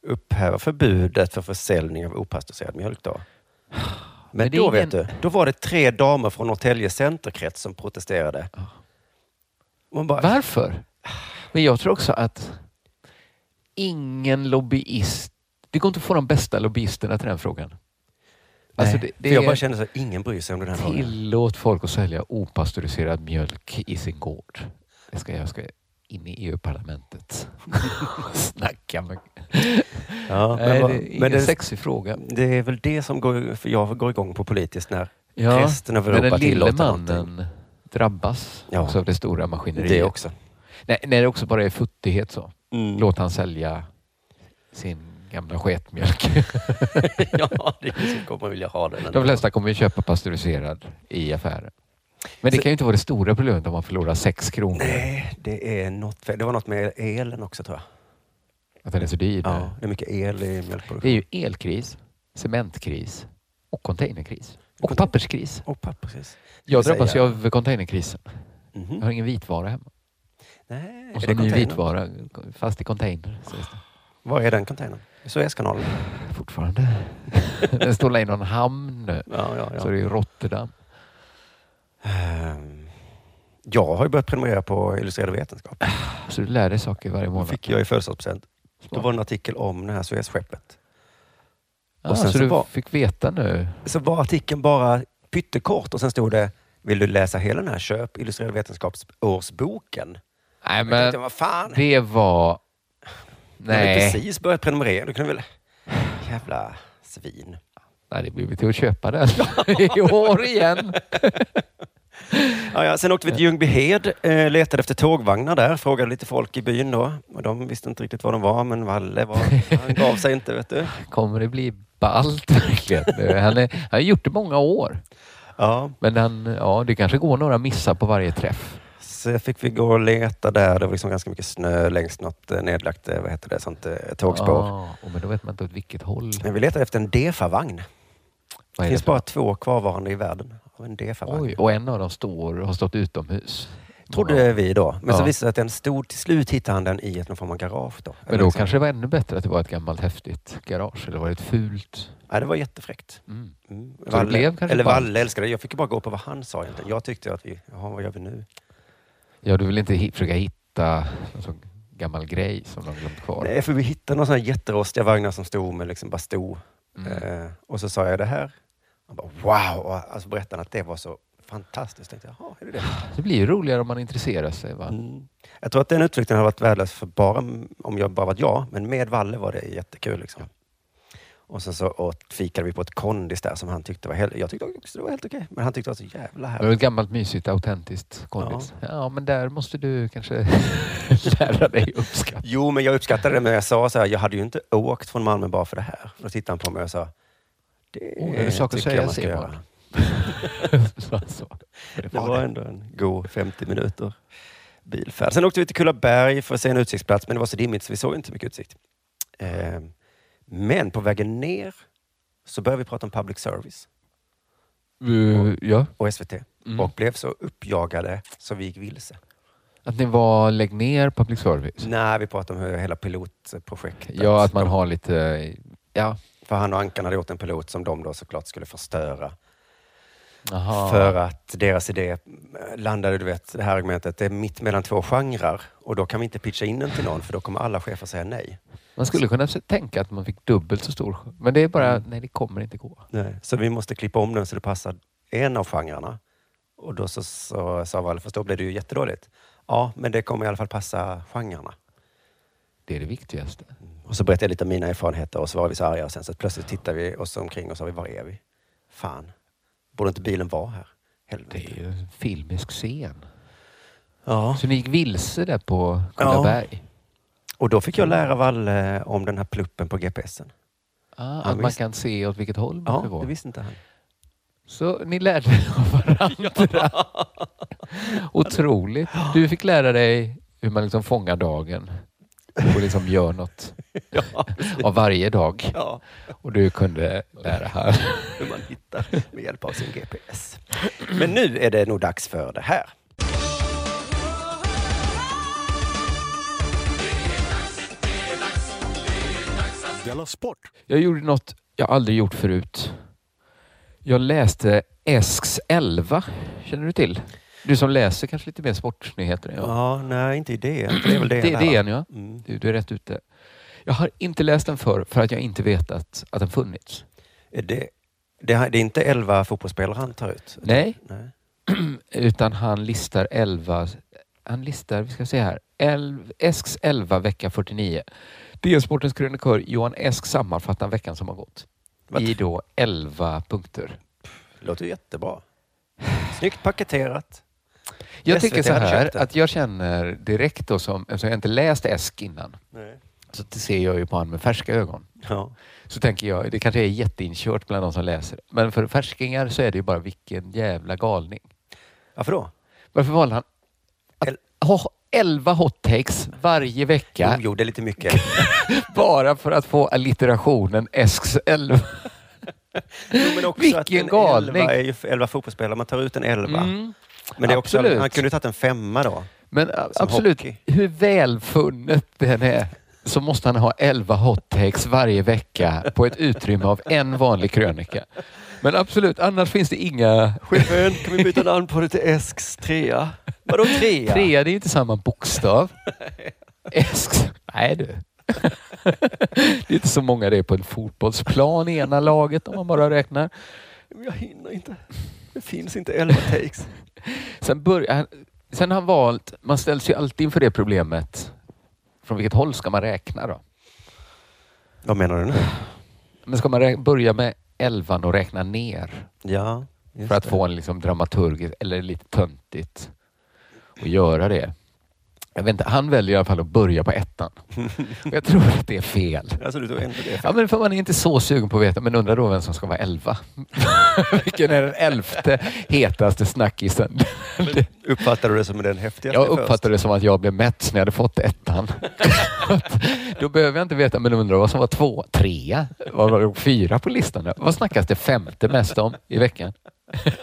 [SPEAKER 8] upphäva förbudet för försäljning av opastöriserad mjölk då. Men
[SPEAKER 9] Men det är
[SPEAKER 8] då vet
[SPEAKER 9] ingen-
[SPEAKER 8] du, då var det tre damer från Norrtälje centerkrets som protesterade. Man bara,
[SPEAKER 9] Varför? Men jag tror också att ingen lobbyist... Det går inte att få de bästa lobbyisterna till den frågan. Alltså det, det
[SPEAKER 8] för jag bara
[SPEAKER 9] är
[SPEAKER 8] kände så här, ingen bryr sig om den här frågan.
[SPEAKER 9] tillåt folk att sälja opastöriserad mjölk i sin gård. Det ska jag ska in i EU-parlamentet och snacka med...
[SPEAKER 8] Ja,
[SPEAKER 9] Nej,
[SPEAKER 8] vad-
[SPEAKER 9] det är ingen
[SPEAKER 8] men det-
[SPEAKER 9] sexig fråga.
[SPEAKER 8] Det är väl det som går, för jag går igång på politiskt när
[SPEAKER 9] Ja,
[SPEAKER 8] resten av
[SPEAKER 9] men
[SPEAKER 8] Europa
[SPEAKER 9] den lille
[SPEAKER 8] tillåter
[SPEAKER 9] mannen
[SPEAKER 8] någonting.
[SPEAKER 9] drabbas
[SPEAKER 8] Ja.
[SPEAKER 9] också av det stora maskineriet.
[SPEAKER 8] Det också.
[SPEAKER 9] Nej, nej, det är också bara är futtighet så. Mm. Låt han sälja sin gamla sketmjölk.
[SPEAKER 8] ja, det är så kommer vilja ha den.
[SPEAKER 9] De flesta kommer ju köpa pasteuriserad i affären. Men det kan ju inte vara det stora problemet om man förlorar sex kronor.
[SPEAKER 8] Nej, det är något fel. Det var något med elen också tror jag.
[SPEAKER 9] Att den är så dyr.
[SPEAKER 8] Ja, det är mycket el i
[SPEAKER 9] Det
[SPEAKER 8] mjölkproduktion.
[SPEAKER 9] är ju elkris, cementkris och containerkris.
[SPEAKER 8] Contain-
[SPEAKER 9] Och papperskris.
[SPEAKER 8] Och papper, precis.
[SPEAKER 9] Jag
[SPEAKER 8] Ska vi
[SPEAKER 9] drabbas ju
[SPEAKER 8] säga-
[SPEAKER 9] av containerkrisen.
[SPEAKER 8] Mhm.
[SPEAKER 9] Jag har ingen vitvara hemma.
[SPEAKER 8] Nej,
[SPEAKER 9] Och så
[SPEAKER 8] är det
[SPEAKER 9] ny
[SPEAKER 8] containern?
[SPEAKER 9] vitvara, fast i container. sägs det.
[SPEAKER 8] Var är den containern? Suezkanalen?
[SPEAKER 9] fortfarande. Den står i någon hamn nu.
[SPEAKER 8] Ja, ja, ja.
[SPEAKER 9] Så det är Rotterdam.
[SPEAKER 8] Ehm, Jag har ju börjat prenumerera på Illustrerad Vetenskap.
[SPEAKER 9] Så du lär dig saker varje
[SPEAKER 8] Då
[SPEAKER 9] månad.
[SPEAKER 8] fick jag i födelsedagspresent. Då var det en artikel om det här Suezskeppet.
[SPEAKER 9] ah,
[SPEAKER 8] och sen
[SPEAKER 9] så,
[SPEAKER 8] så
[SPEAKER 9] du
[SPEAKER 8] var-
[SPEAKER 9] fick veta nu.
[SPEAKER 8] Så var artikeln bara pyttekort och sen stod det Vill du läsa hela den här? Köp Illustrerad Vetenskapsårsboken.
[SPEAKER 9] Nej,
[SPEAKER 8] Jag tänkte,
[SPEAKER 9] men
[SPEAKER 8] vad fan?
[SPEAKER 9] det var...
[SPEAKER 8] Jag har ju
[SPEAKER 9] Nej,
[SPEAKER 8] precis börjat prenumerera. Du kunde väl... Jävla svin.
[SPEAKER 9] Nej det blir vi till att köpa den i år igen.
[SPEAKER 8] Ja, ja. Sen åkte vi till Ljungbyhed, eh, letade efter tågvagnar där, frågade lite folk i byn då. Och de visste inte riktigt var de var, men Valle var, han gav sig inte. vet du.
[SPEAKER 9] Kommer det bli ballt verkligen? Nu? Han, är, han har gjort det många år.
[SPEAKER 8] Ja,
[SPEAKER 9] Men han, ja, det kanske går några missar på varje träff.
[SPEAKER 8] så fick vi gå och leta där. Det var liksom ganska mycket snö längs något eh, nedlagt eh, vad heter det, sånt, eh, tågspår.
[SPEAKER 9] Ah, och men då vet man inte åt vilket håll.
[SPEAKER 8] Men vi letade efter en DEFA-vagn.
[SPEAKER 9] Vad är
[SPEAKER 8] Det
[SPEAKER 9] det
[SPEAKER 8] finns
[SPEAKER 9] för-
[SPEAKER 8] bara två kvarvarande i världen av en DEFA-vagn.
[SPEAKER 9] Oj, och en av dem står, har stått utomhus.
[SPEAKER 8] Trodde vi då. Men så
[SPEAKER 9] Ja.
[SPEAKER 8] visade det sig att den stod, till slut hittade han den i ett någon form av garage. Då. Alltså,
[SPEAKER 9] Men då kanske det var ännu bättre att det var ett gammalt häftigt garage. Eller var det ett fult?
[SPEAKER 8] Ja, det var jättefräckt.
[SPEAKER 9] Mm.
[SPEAKER 8] Mm.
[SPEAKER 9] det
[SPEAKER 8] Valle,
[SPEAKER 9] blev kanske
[SPEAKER 8] eller
[SPEAKER 9] ballt.
[SPEAKER 8] Valle älskade det. Jag fick ju bara gå på vad han sa egentligen. Jag tyckte att vi, jaha, vad gör vi nu?
[SPEAKER 9] Ja, du vill inte hi- försöka hitta någon sån gammal grej som de har glömt kvar?
[SPEAKER 8] Nej, för vi hittade några sådana jätterostiga vagnar som stod med liksom bara stod.
[SPEAKER 9] Mm.
[SPEAKER 8] Eh, och så sa jag det här. Han bara, wow! Och alltså berättade han att det var så fantastiskt. Jag tänkte, jaha, är det det?
[SPEAKER 9] Det blir ju roligare om man intresserar sig. Va?
[SPEAKER 8] Mm. Jag tror att den utflykten hade varit värdelös för bara om jag bara varit jag, men med Valle var det jättekul. Liksom. Och sen så åt, fikade vi på ett kondis där som han tyckte var helt, jag tyckte också det var helt okej, men han tyckte det var så jävla
[SPEAKER 9] Det var
[SPEAKER 8] härligt.
[SPEAKER 9] ett gammalt mysigt autentiskt kondis. Ja. men där måste du kanske lära dig uppskatta.
[SPEAKER 8] Jo, men jag uppskattade det, men jag sa så här, jag hade ju inte åkt från Malmö bara för det här. Då tittade han på mig och sa, det
[SPEAKER 9] Åh, är det saker att
[SPEAKER 8] tycker
[SPEAKER 9] säga,
[SPEAKER 8] jag man ska
[SPEAKER 9] ser
[SPEAKER 8] göra.
[SPEAKER 9] man. Så, så. Det
[SPEAKER 8] Det
[SPEAKER 9] var
[SPEAKER 8] var
[SPEAKER 9] det.
[SPEAKER 8] ändå en god 50 minuter bilfärd. Sen åkte vi till Kullaberg för att se en utsiktsplats, men det var så dimmigt så vi såg inte så mycket utsikt. Eh, Men på vägen ner så började vi prata om public service
[SPEAKER 9] Uh, ja.
[SPEAKER 8] och SVT
[SPEAKER 9] Mm.
[SPEAKER 8] och blev så uppjagade så vi gick vilse.
[SPEAKER 9] Att ni var lägg ner public service?
[SPEAKER 8] När vi pratade om hur hela pilotprojektet...
[SPEAKER 9] Ja, att man har lite... Ja.
[SPEAKER 8] För han och Ankan hade gjort en pilot som de då såklart skulle förstöra.
[SPEAKER 9] Aha.
[SPEAKER 8] För att deras idé eh, landade, du vet, det här argumentet, det är mitt mellan två genrer och då kan vi inte pitcha in den till någon för då kommer alla chefer säga nej.
[SPEAKER 9] Man skulle kunna se- tänka att man fick dubbelt så stor skö- Men det är bara,
[SPEAKER 8] Mm.
[SPEAKER 9] nej det kommer inte gå.
[SPEAKER 8] Nej, så vi måste klippa om den så det passar en av genrerna. Och då så, så sa Valle, fast då blev det ju jättedåligt. Ja, men det kommer i alla fall passa genrerna.
[SPEAKER 9] Det är det viktigaste.
[SPEAKER 8] Och så berättade jag lite om mina erfarenheter och så var vi så arga och sen så plötsligt tittade vi oss omkring och sa, vi, var är vi? Fan, borde inte bilen vara här?
[SPEAKER 9] Det är
[SPEAKER 8] Helvete.
[SPEAKER 9] ju en filmisk scen.
[SPEAKER 8] Ja.
[SPEAKER 9] Så ni gick vilse där på Kullaberg?
[SPEAKER 8] Och då fick jag lära Valle om den här pluppen på GPSen.
[SPEAKER 9] Ah,
[SPEAKER 8] Ja,
[SPEAKER 9] att man
[SPEAKER 8] visst.
[SPEAKER 9] kan se åt vilket håll man ska
[SPEAKER 8] Ja,
[SPEAKER 9] gå?
[SPEAKER 8] det visste inte han.
[SPEAKER 9] Så ni lärde er av varandra. Otroligt. Du fick lära dig hur man liksom fångar dagen och liksom gör något av varje dag.
[SPEAKER 8] Ja,
[SPEAKER 9] Och du kunde lära här.
[SPEAKER 8] hur man hittar med hjälp av sin GPS. Men nu är det nog dags för det här.
[SPEAKER 1] Della Sport!
[SPEAKER 9] Jag gjorde något jag aldrig gjort förut. Jag läste Esks 11. Känner du till? Du som läser kanske lite mer sportnyheter än jag.
[SPEAKER 8] Ja, nej, inte idén. för Det är väl det.
[SPEAKER 9] det är
[SPEAKER 8] där,
[SPEAKER 9] DN
[SPEAKER 8] va?
[SPEAKER 9] ja.
[SPEAKER 8] Mm.
[SPEAKER 9] Du, du är rätt ute. Jag har inte läst den förr för att jag inte vetat att den funnits.
[SPEAKER 8] Är Det, det, här- det är inte elva fotbollsspelare han tar ut?
[SPEAKER 9] Nej,
[SPEAKER 8] Nej.
[SPEAKER 9] utan han listar 11. Han listar, vi ska se här, Elv- Esks 11 vecka 49. DN-sportens krönikör Johan Esk sammanfattar veckan som har gått.
[SPEAKER 8] Vad-
[SPEAKER 9] I då 11 punkter.
[SPEAKER 8] Låter ju jättebra. Snyggt paketerat.
[SPEAKER 9] Jag
[SPEAKER 8] SVT
[SPEAKER 9] tycker så
[SPEAKER 8] hade
[SPEAKER 9] här
[SPEAKER 8] köpt den.
[SPEAKER 9] att jag känner direkt då som, eftersom jag inte läst Esk innan, så det ser jag ju på honom med färska ögon.
[SPEAKER 8] Ja.
[SPEAKER 9] Så tänker jag, det kanske är jätteinkört bland de som läser det. Men för färskingar så är det ju bara vilken jävla galning.
[SPEAKER 8] Varför då?
[SPEAKER 9] Varför valde han
[SPEAKER 8] El-
[SPEAKER 9] att ha 11 hot takes varje
[SPEAKER 8] Jo,
[SPEAKER 9] vecka
[SPEAKER 8] jo, det är lite mycket.
[SPEAKER 9] bara för att få allitterationen Esks 11?
[SPEAKER 8] Jo, men också att
[SPEAKER 9] Vilken
[SPEAKER 8] en
[SPEAKER 9] galning.
[SPEAKER 8] Elva är ju f- elva fotbollsspelare. Man tar ut en elva.
[SPEAKER 9] Mm.
[SPEAKER 8] Men det är också,
[SPEAKER 9] absolut.
[SPEAKER 8] han kunde ju tagit en femma då.
[SPEAKER 9] Men a- absolut,
[SPEAKER 8] hockey.
[SPEAKER 9] hur välfunnet den är så måste han ha 11 hot takes varje vecka på ett utrymme av en vanlig krönika. Men absolut, annars finns det inga...
[SPEAKER 8] Chefen, kan vi byta namn på det till Esks trea? Vadå trea?
[SPEAKER 9] Trea, det är inte samma bokstav. Esk... Nej du. Det är inte så många det är på en fotbollsplan i ena laget om man bara räknar.
[SPEAKER 8] Men Jag hinner inte. Det finns inte elva takes.
[SPEAKER 9] Sen, börjar, sen har han valt, man ställs ju alltid inför det problemet. Från vilket håll ska man räkna då?
[SPEAKER 8] Vad menar du nu?
[SPEAKER 9] Men ska man rä- börja med elvan och räkna ner
[SPEAKER 8] Ja,
[SPEAKER 9] för att få en liksom dramaturgisk, eller lite töntigt, och göra det. Jag vet inte, han väljer i alla fall att börja på ettan. Och jag tror att det är fel.
[SPEAKER 8] Alltså du tog en på det.
[SPEAKER 9] Ja, men för man är inte så sugen på att veta, men undrar då vem som ska vara elva. Vilken är den elfte hetaste snackisen?
[SPEAKER 8] Uppfattade du det som den häftigaste
[SPEAKER 9] Jag uppfattade det som att jag blev mätt när jag hade fått ettan. Då behöver jag inte veta, men undrar vad som var två, trea, vad var det, fyra på listan? då? Vad snackas det femte mest om i veckan?
[SPEAKER 8] först?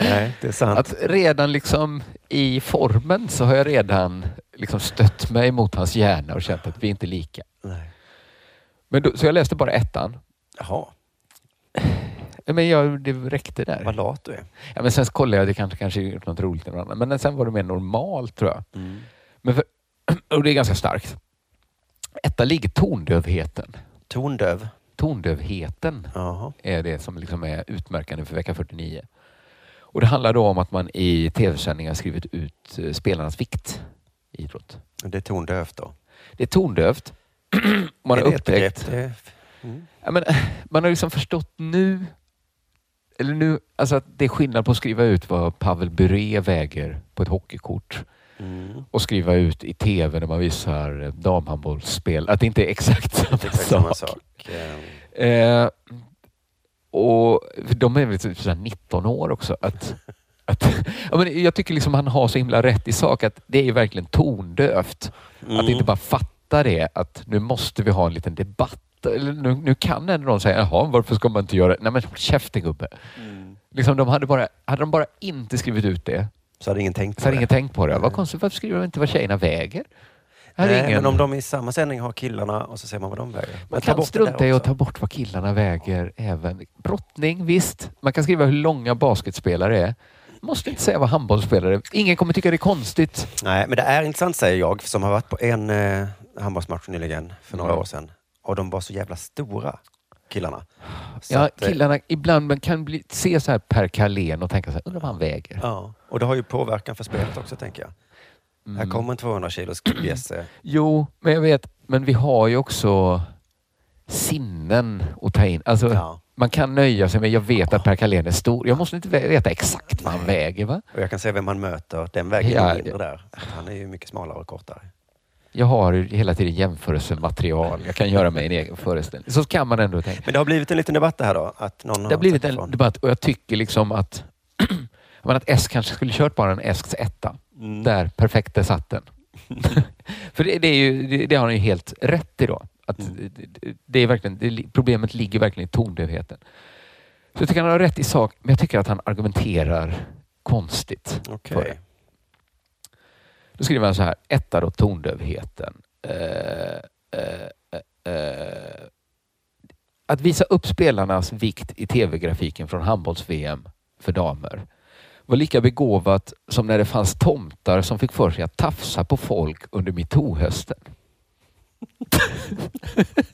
[SPEAKER 8] Nej, det är sant.
[SPEAKER 9] Att redan liksom i formen så har jag redan liksom stött mig mot hans hjärna och känt att vi är inte lika.
[SPEAKER 8] Nej.
[SPEAKER 9] Men då, så jag läste bara ettan.
[SPEAKER 8] Jaha,
[SPEAKER 9] Men jag, det räckte där.
[SPEAKER 8] vad lat du är.
[SPEAKER 9] Ja, men sen så kollade jag, det kanske, kanske gjort något roligt eller något annat. Men sen var det mer normalt tror jag. Men för, och det är ganska starkt. Etta ligger tondövheten.
[SPEAKER 8] Tondöv.
[SPEAKER 9] Tondövheten
[SPEAKER 8] Jaha.
[SPEAKER 9] är det som liksom är utmärkande för vecka 49. Och det handlar då om att man i tv-sändningar skrivit ut eh, spelarnas vikt i idrott.
[SPEAKER 8] Det är tondövt då.
[SPEAKER 9] Det är tondövt. Man
[SPEAKER 8] är
[SPEAKER 9] har
[SPEAKER 8] det ett
[SPEAKER 9] upptäckt.
[SPEAKER 8] begrepp? Det är-
[SPEAKER 9] Ja, men, man har liksom förstått nu, eller nu, alltså att det är skillnad på att skriva ut vad Pavel Bure väger på ett hockeykort
[SPEAKER 8] Mm.
[SPEAKER 9] och skriva ut i tv när man visar eh, damhandbollsspel, att det inte är exakt samma
[SPEAKER 8] Det är exakt
[SPEAKER 9] sak.
[SPEAKER 8] samma sak. Eh,
[SPEAKER 9] Eh, och för de är väl typ sådär 19 år också. Att, att, ja, men jag tycker liksom han har så himla rätt i sak att det är ju verkligen tondövt.
[SPEAKER 8] Mm.
[SPEAKER 9] Att inte bara fatta det att nu måste vi ha en liten debatt. Eller nu, nu kan ändå någon säga, jaha, varför ska man inte göra det? Nej men håll käften gubbe.
[SPEAKER 8] Mm.
[SPEAKER 9] Liksom, de hade, bara, hade de bara inte skrivit ut det
[SPEAKER 8] Så hade ingen tänkt
[SPEAKER 9] så hade
[SPEAKER 8] på
[SPEAKER 9] ingen tänkt på det. Vad konstigt, varför skriver de inte vad tjejerna väger? Här är
[SPEAKER 8] Nej,
[SPEAKER 9] ingen...
[SPEAKER 8] Men om de i samma sändning har killarna och så ser man vad de väger. Men
[SPEAKER 9] Man
[SPEAKER 8] ta
[SPEAKER 9] kan
[SPEAKER 8] bort det där
[SPEAKER 9] strunta i att
[SPEAKER 8] också.
[SPEAKER 9] ta bort vad killarna väger även. Brottning, visst. Man kan skriva hur långa basketspelare är. Måste inte säga vad handbollsspelare är. Ingen kommer tycka det är konstigt.
[SPEAKER 8] Nej, men det är intressant säger jag som har varit på en eh, handbollsmatch nyligen för några
[SPEAKER 9] Mm.
[SPEAKER 8] år sedan. Och de var så jävla stora killarna. Så
[SPEAKER 9] Ja,
[SPEAKER 8] att, eh,
[SPEAKER 9] killarna ibland man kan bli, se så här Per Carlén och tänka så här, undrar vad han väger.
[SPEAKER 8] Ja, och det har ju påverkan för spelet också tänker jag.
[SPEAKER 9] Mm.
[SPEAKER 8] Här kommer en 200 kilos bjässe.
[SPEAKER 9] Jo, men jag vet. Men vi har ju också sinnen att ta in. Alltså,
[SPEAKER 8] Ja.
[SPEAKER 9] Man kan nöja sig med, jag vet att Per Carlén är stor. Jag måste inte vä- veta exakt vad han
[SPEAKER 8] Nej.
[SPEAKER 9] väger. Va?
[SPEAKER 8] Och jag kan se vem man möter. Den väger ju
[SPEAKER 9] Ja,
[SPEAKER 8] mindre
[SPEAKER 9] ja.
[SPEAKER 8] där. För att Han är ju mycket smalare och kortare.
[SPEAKER 9] Jag har ju hela tiden jämförelsematerial. Jag kan göra mig en egen föreställning. Så kan man ändå tänka.
[SPEAKER 8] Men det har blivit en liten debatt det här då? Att någon
[SPEAKER 9] Det har blivit
[SPEAKER 8] sagt ifrån.
[SPEAKER 9] en debatt och jag tycker liksom att, jag menar att S kanske skulle kört bara en Esks etta.
[SPEAKER 8] Mm.
[SPEAKER 9] Där perfekt där satt den. För det, det, är ju, det, det har han ju helt rätt i då. Att
[SPEAKER 8] Mm.
[SPEAKER 9] det, det är verkligen, det, li- problemet ligger verkligen i tondövheten. Så jag tycker han har rätt i sak, men jag tycker att han argumenterar konstigt.
[SPEAKER 8] Okej.
[SPEAKER 9] för det. Då skriver han så här, etta då tondövheten. Eh, eh, eh. Att visa upp spelarnas vikt i tv-grafiken från handbolls-VM för damer var lika begåvat som när det fanns tomtar som fick för sig att tafsa på folk under metoo-hösten.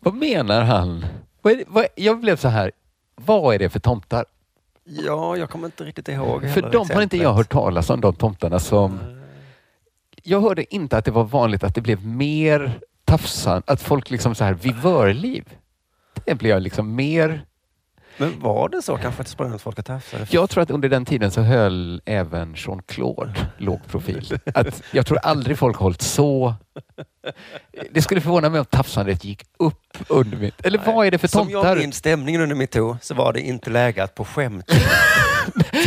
[SPEAKER 9] vad menar han? Vad är det, vad, jag blev så här, vad är det för tomtar?
[SPEAKER 8] Ja, jag kommer inte riktigt ihåg
[SPEAKER 9] För
[SPEAKER 8] heller
[SPEAKER 9] de har inte
[SPEAKER 8] exemplet.
[SPEAKER 9] jag hört talas om, de tomtarna som... Jag hörde inte att det var vanligt att det blev mer tafsan, att folk liksom så här vivörliv. Det blev jag liksom mer...
[SPEAKER 8] Men var det så kanske att det sprang runt folk och tafsade?
[SPEAKER 9] Jag tror att under den tiden så höll även Jean-Claude låg profil. Att jag tror aldrig folk har hållit så... Det skulle förvåna mig om tafsandet gick upp under mitt... Eller vad är det för
[SPEAKER 8] Som jag
[SPEAKER 9] tomtar?
[SPEAKER 8] minns stämningen under metoo så var det inte läge att på skämt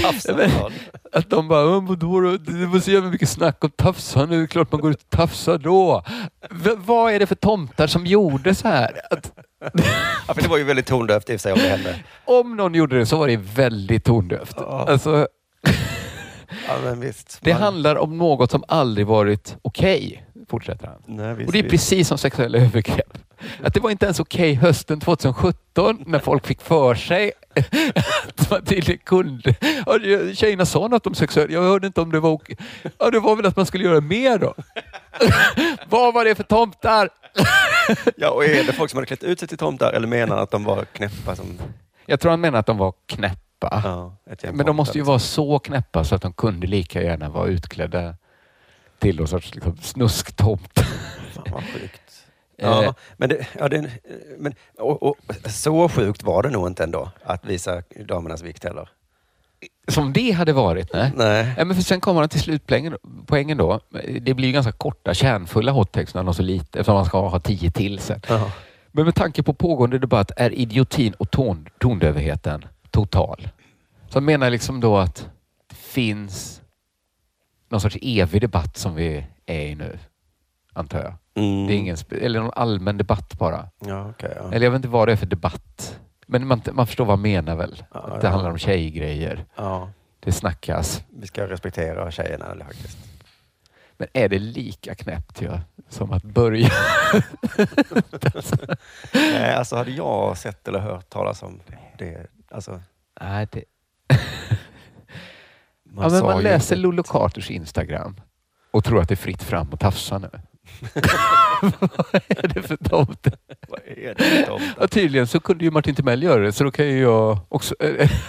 [SPEAKER 8] tafsa
[SPEAKER 9] Men-
[SPEAKER 8] på någon.
[SPEAKER 9] Att de bara, "Åh, vadå då? Det var så jävla mycket snack om tafsa nu. Det är klart man går ut och tafsar då. V- vad är det för tomtar som gjorde så här? Att,
[SPEAKER 8] Ja, för det var ju väldigt tondövt i och för sig om det hände.
[SPEAKER 9] om någon gjorde det så var det väldigt tondövt.
[SPEAKER 8] Ja.
[SPEAKER 9] Alltså,
[SPEAKER 8] Ja, men visst.
[SPEAKER 9] det
[SPEAKER 8] Man-
[SPEAKER 9] handlar om något som aldrig varit okej fortsätter han.
[SPEAKER 8] Nej, visst,
[SPEAKER 9] Och det är
[SPEAKER 8] visst.
[SPEAKER 9] precis som sexuella övergrepp. Att det var inte ens okej hösten 2017 när folk fick för sig att man tydligen kunde. Ja, det- Tjejerna sa något om sexuella, jag hörde inte om det var okej. Ja, det var väl att man skulle göra mer då. Vad var det för tomtar?
[SPEAKER 8] Ja, och är det folk som hade klätt ut sig till tomtar eller menar att de var knäppa som...
[SPEAKER 9] Jag tror han menar att de var knäppa.
[SPEAKER 8] Ja, ett gäng
[SPEAKER 9] Men
[SPEAKER 8] tomtar,
[SPEAKER 9] de måste ju
[SPEAKER 8] liksom.
[SPEAKER 9] vara så knäppa så att de kunde lika gärna vara utklädda till någon sorts liksom, snusktomt.
[SPEAKER 8] Fan, vad sjukt.
[SPEAKER 9] Eh.
[SPEAKER 8] Ja, men, det, ja, det, men och, och, så sjukt var det nog inte ändå att visa damernas vikt heller.
[SPEAKER 9] Som det hade varit. Nej.
[SPEAKER 8] Nej.
[SPEAKER 9] Ja, men för sen kommer han till slutpoängen poängen då. Det blir ju ganska korta, kärnfulla hottext när han har så lite, eftersom han ska ha tio till sen.
[SPEAKER 8] Ja.
[SPEAKER 9] Men med tanke på pågående debatt är idiotin och ton, tondövheten total. Så han menar liksom då att det finns någon sorts evig debatt som vi är i nu, antar jag.
[SPEAKER 8] Mm.
[SPEAKER 9] Det är ingen, spe- eller någon allmän debatt bara.
[SPEAKER 8] Ja, okej. ja.
[SPEAKER 9] Eller jag vet inte vad det är för debatt. Men man, man förstår vad han menar väl?
[SPEAKER 8] Ja,
[SPEAKER 9] att det
[SPEAKER 8] ja.
[SPEAKER 9] handlar om tjejgrejer.
[SPEAKER 8] ja,
[SPEAKER 9] Det snackas.
[SPEAKER 8] vi ska respektera tjejerna eller faktiskt.
[SPEAKER 9] Men är det lika knäppt ja, som att börja?
[SPEAKER 8] Nej, alltså hade jag sett eller hört talas om det, alltså,
[SPEAKER 9] Nej, det...
[SPEAKER 8] man
[SPEAKER 9] man, ja, men
[SPEAKER 8] sa
[SPEAKER 9] man
[SPEAKER 8] ju
[SPEAKER 9] läser
[SPEAKER 8] inte-
[SPEAKER 9] Lollo Carters Instagram och tror att det är fritt fram att tafsa nu. Vad är det för tomte?
[SPEAKER 8] Vad är det om?
[SPEAKER 9] Ja, tydligen så kunde ju Martin Timell göra det, så då kan ju jag också...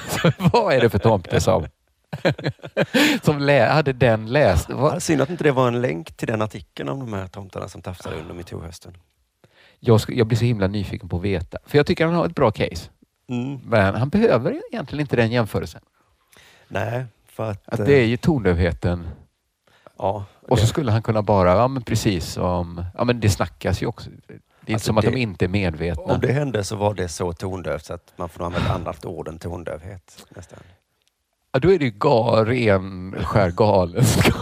[SPEAKER 9] Så Vad är det för tomte som, som lä- hade den läst?
[SPEAKER 8] Ja,
[SPEAKER 9] Vad-
[SPEAKER 8] synd att inte det var en länk till den artikeln om de här tomtarna som tafsade under metoo-hösten.
[SPEAKER 9] Jag, sk- jag blir så himla nyfiken på att veta. För jag tycker han har ett bra case.
[SPEAKER 8] Mm.
[SPEAKER 9] Men han behöver egentligen inte den jämförelsen.
[SPEAKER 8] Nej, för att...
[SPEAKER 9] Att
[SPEAKER 8] eh,
[SPEAKER 9] det är ju tondövheten
[SPEAKER 8] ja,
[SPEAKER 9] Och
[SPEAKER 8] det-
[SPEAKER 9] så skulle han kunna bara, ja men precis som, ja men det snackas ju också. Det är inte
[SPEAKER 8] Alltså
[SPEAKER 9] som att
[SPEAKER 8] det-
[SPEAKER 9] de inte är medvetna.
[SPEAKER 8] Om det hände så var det så tondövt så att man får nog använda annat ord än tondövhet. Nästan.
[SPEAKER 9] Ja, då är det ju ga, ren, skär galenskap.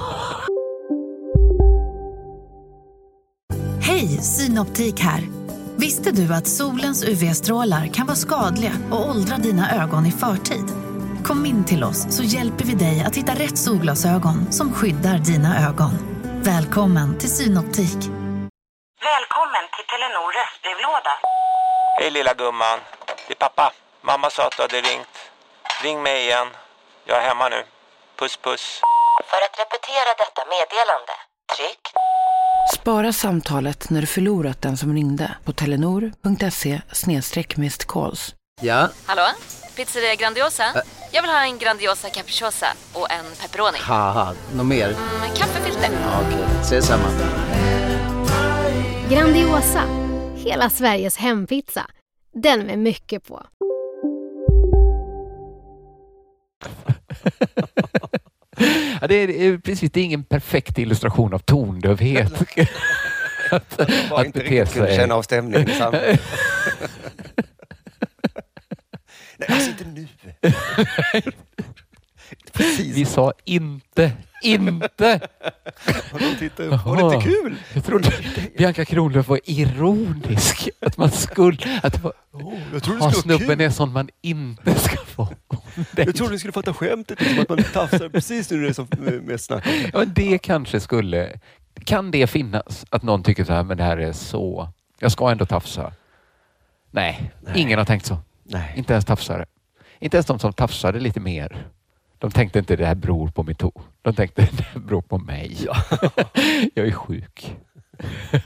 [SPEAKER 2] Hej, Synoptik här. Visste du att solens UV-strålar kan vara skadliga och åldra dina ögon i förtid? Kom in till oss så hjälper vi dig att hitta rätt solglasögon som skyddar dina ögon. Välkommen till Synoptik.
[SPEAKER 11] Välkommen till Telenor röstbrevlåda.
[SPEAKER 3] Hej lilla gumman. Det är pappa. Mamma sa att du hade ringt. Ring mig igen. Jag är hemma nu. Puss puss.
[SPEAKER 11] För att repetera detta meddelande, tryck
[SPEAKER 2] Spara samtalet när du förlorat den som ringde på telenor.se calls.
[SPEAKER 12] Ja,
[SPEAKER 11] Hallå? Pizzeria Grandiosa? Jag vill ha en Grandiosa capriciosa och en pepperoni.
[SPEAKER 12] haha, något mer?
[SPEAKER 11] Med kaffefilter.
[SPEAKER 12] Okej, ses samma.
[SPEAKER 10] Grandiosa, hela Sveriges hempizza. Den med mycket på.
[SPEAKER 9] Ja, det, är, det är precis, det är ingen perfekt illustration av tondövhet. att,
[SPEAKER 8] Bara
[SPEAKER 9] att
[SPEAKER 8] inte
[SPEAKER 9] bete
[SPEAKER 8] riktigt kunde
[SPEAKER 9] sig.
[SPEAKER 8] känna av stämningen i samhället. Nej, alltså inte nu. Precis.
[SPEAKER 9] Vi sa inte, INTE!
[SPEAKER 8] Och de tittar upp. Var det inte kul?
[SPEAKER 9] Jag trodde Bianca Kronlöf var ironisk. Att man skulle... Att det var,
[SPEAKER 8] Oh, jag trodde det
[SPEAKER 9] "Ha,
[SPEAKER 8] skulle vara
[SPEAKER 9] snubben
[SPEAKER 8] kul."
[SPEAKER 9] är sån man inte ska få.
[SPEAKER 8] Jag trodde ni skulle fatta skämtet, liksom, att man tafsar precis nu när det är som mest snack. om.
[SPEAKER 9] Ja, men det kanske skulle... Kan det finnas att någon tycker så här, men det här är så... Jag ska ändå tafsa. Nej, ingen har tänkt så.
[SPEAKER 8] Nej.
[SPEAKER 9] Inte ens tafsare. Inte ens de som tafsade lite mer. De tänkte inte det här beror på metoo. De tänkte det här beror på mig. jag är sjuk.
[SPEAKER 8] Ja.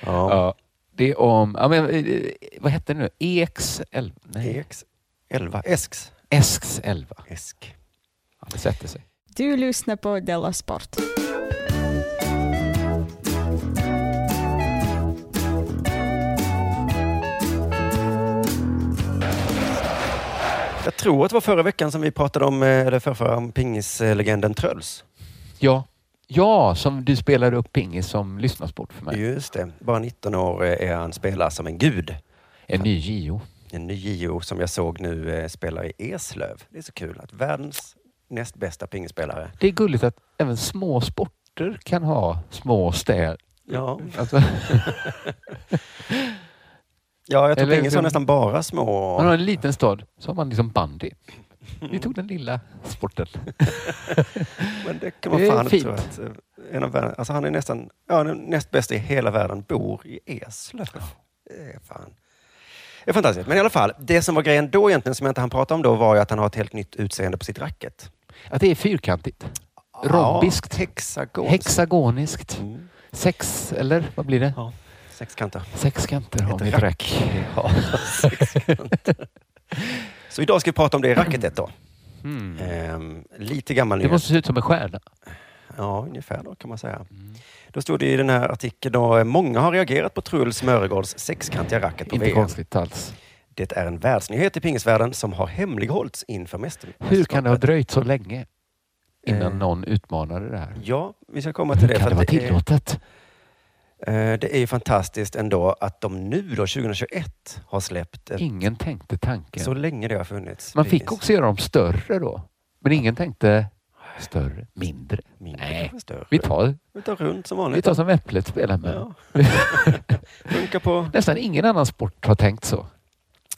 [SPEAKER 9] Ja, det är om... Ja, men, eh, vad hette det nu? EX11? Nej,
[SPEAKER 8] EX 11. Esks.
[SPEAKER 9] ESX11.
[SPEAKER 8] Esk.
[SPEAKER 9] Ja, det sätter sig.
[SPEAKER 10] Du lyssnar på Della Sport.
[SPEAKER 8] Jag tror att det var förra veckan som vi pratade om, eh, eller förrförra, om pingislegenden Tröls.
[SPEAKER 9] Ja. ja, som du spelade upp pingis som lyssnarsport för mig.
[SPEAKER 8] Just det. Bara 19 år eh, är han spelar som en gud.
[SPEAKER 9] En ny JO.
[SPEAKER 8] En ny JO som jag såg nu eh, spelar i Eslöv. Det är så kul att världens näst bästa pingisspelare.
[SPEAKER 9] Det är gulligt att även små sporter kan ha små städer.
[SPEAKER 8] Ja,
[SPEAKER 9] Alltså,
[SPEAKER 8] ja jag tror
[SPEAKER 9] Eller-
[SPEAKER 8] pingis har nästan bara små...
[SPEAKER 9] man har en liten stad så har man liksom bandy. Vi tog den lilla sporten.
[SPEAKER 8] Men det kan man
[SPEAKER 9] Det är
[SPEAKER 8] fan inte
[SPEAKER 9] fint.
[SPEAKER 8] tro att... en av världen, alltså han är nästan, ja, den näst bästa i hela världen, bor i Eslöv. Det är fan. Det är fantastiskt. Men i alla fall, det som var grejen då egentligen, som jag inte hann prata om då, var ju att han har ett helt nytt utseende på sitt racket.
[SPEAKER 9] Att det är fyrkantigt? Rombiskt?
[SPEAKER 8] Ja, hexagoniskt.
[SPEAKER 9] Hexagoniskt. Sex, eller vad blir det?
[SPEAKER 8] Ja, sexkanter.
[SPEAKER 9] Sexkanter har
[SPEAKER 8] Ett
[SPEAKER 9] vi ett rack.
[SPEAKER 8] Ja, sexkanter. Så idag ska vi prata om det racketet då. Ehm, lite gammal
[SPEAKER 9] Hmm. Mm. Det
[SPEAKER 8] nyhet.
[SPEAKER 9] måste se ut som en stjärna.
[SPEAKER 8] Ja, ungefär då kan man säga.
[SPEAKER 9] Mm.
[SPEAKER 8] Då stod det i den här artikeln då, eh, många har reagerat på Truls Mörgårds sexkantiga racket på
[SPEAKER 9] Inte
[SPEAKER 8] VM.
[SPEAKER 9] konstigt alls.
[SPEAKER 8] Det är en världsnyhet i pingisvärlden som har hemlighållits inför mästerskapet.
[SPEAKER 9] Hur kan det ha dröjt så länge innan
[SPEAKER 8] Eh.
[SPEAKER 9] någon utmanade det här?
[SPEAKER 8] Ja, vi ska komma till
[SPEAKER 9] Hur
[SPEAKER 8] det.
[SPEAKER 9] kan
[SPEAKER 8] för
[SPEAKER 9] det vara
[SPEAKER 8] att
[SPEAKER 9] tillåtet?
[SPEAKER 8] är, eh, det är ju fantastiskt ändå att de nu då, 2021, har släppt ett,
[SPEAKER 9] Ingen tänkte tanken.
[SPEAKER 8] så länge det har funnits.
[SPEAKER 9] Man fick
[SPEAKER 8] Precis.
[SPEAKER 9] också göra dem större då. Men ingen tänkte större, mindre.
[SPEAKER 8] Mindre
[SPEAKER 9] Nej,
[SPEAKER 8] kanske större.
[SPEAKER 9] vi tar,
[SPEAKER 8] Vi tar runt som
[SPEAKER 9] vi
[SPEAKER 8] vanligt.
[SPEAKER 9] tar som Äpplet spelar med.
[SPEAKER 8] Ja. Funkar på
[SPEAKER 9] Nästan ingen annan sport har tänkt så.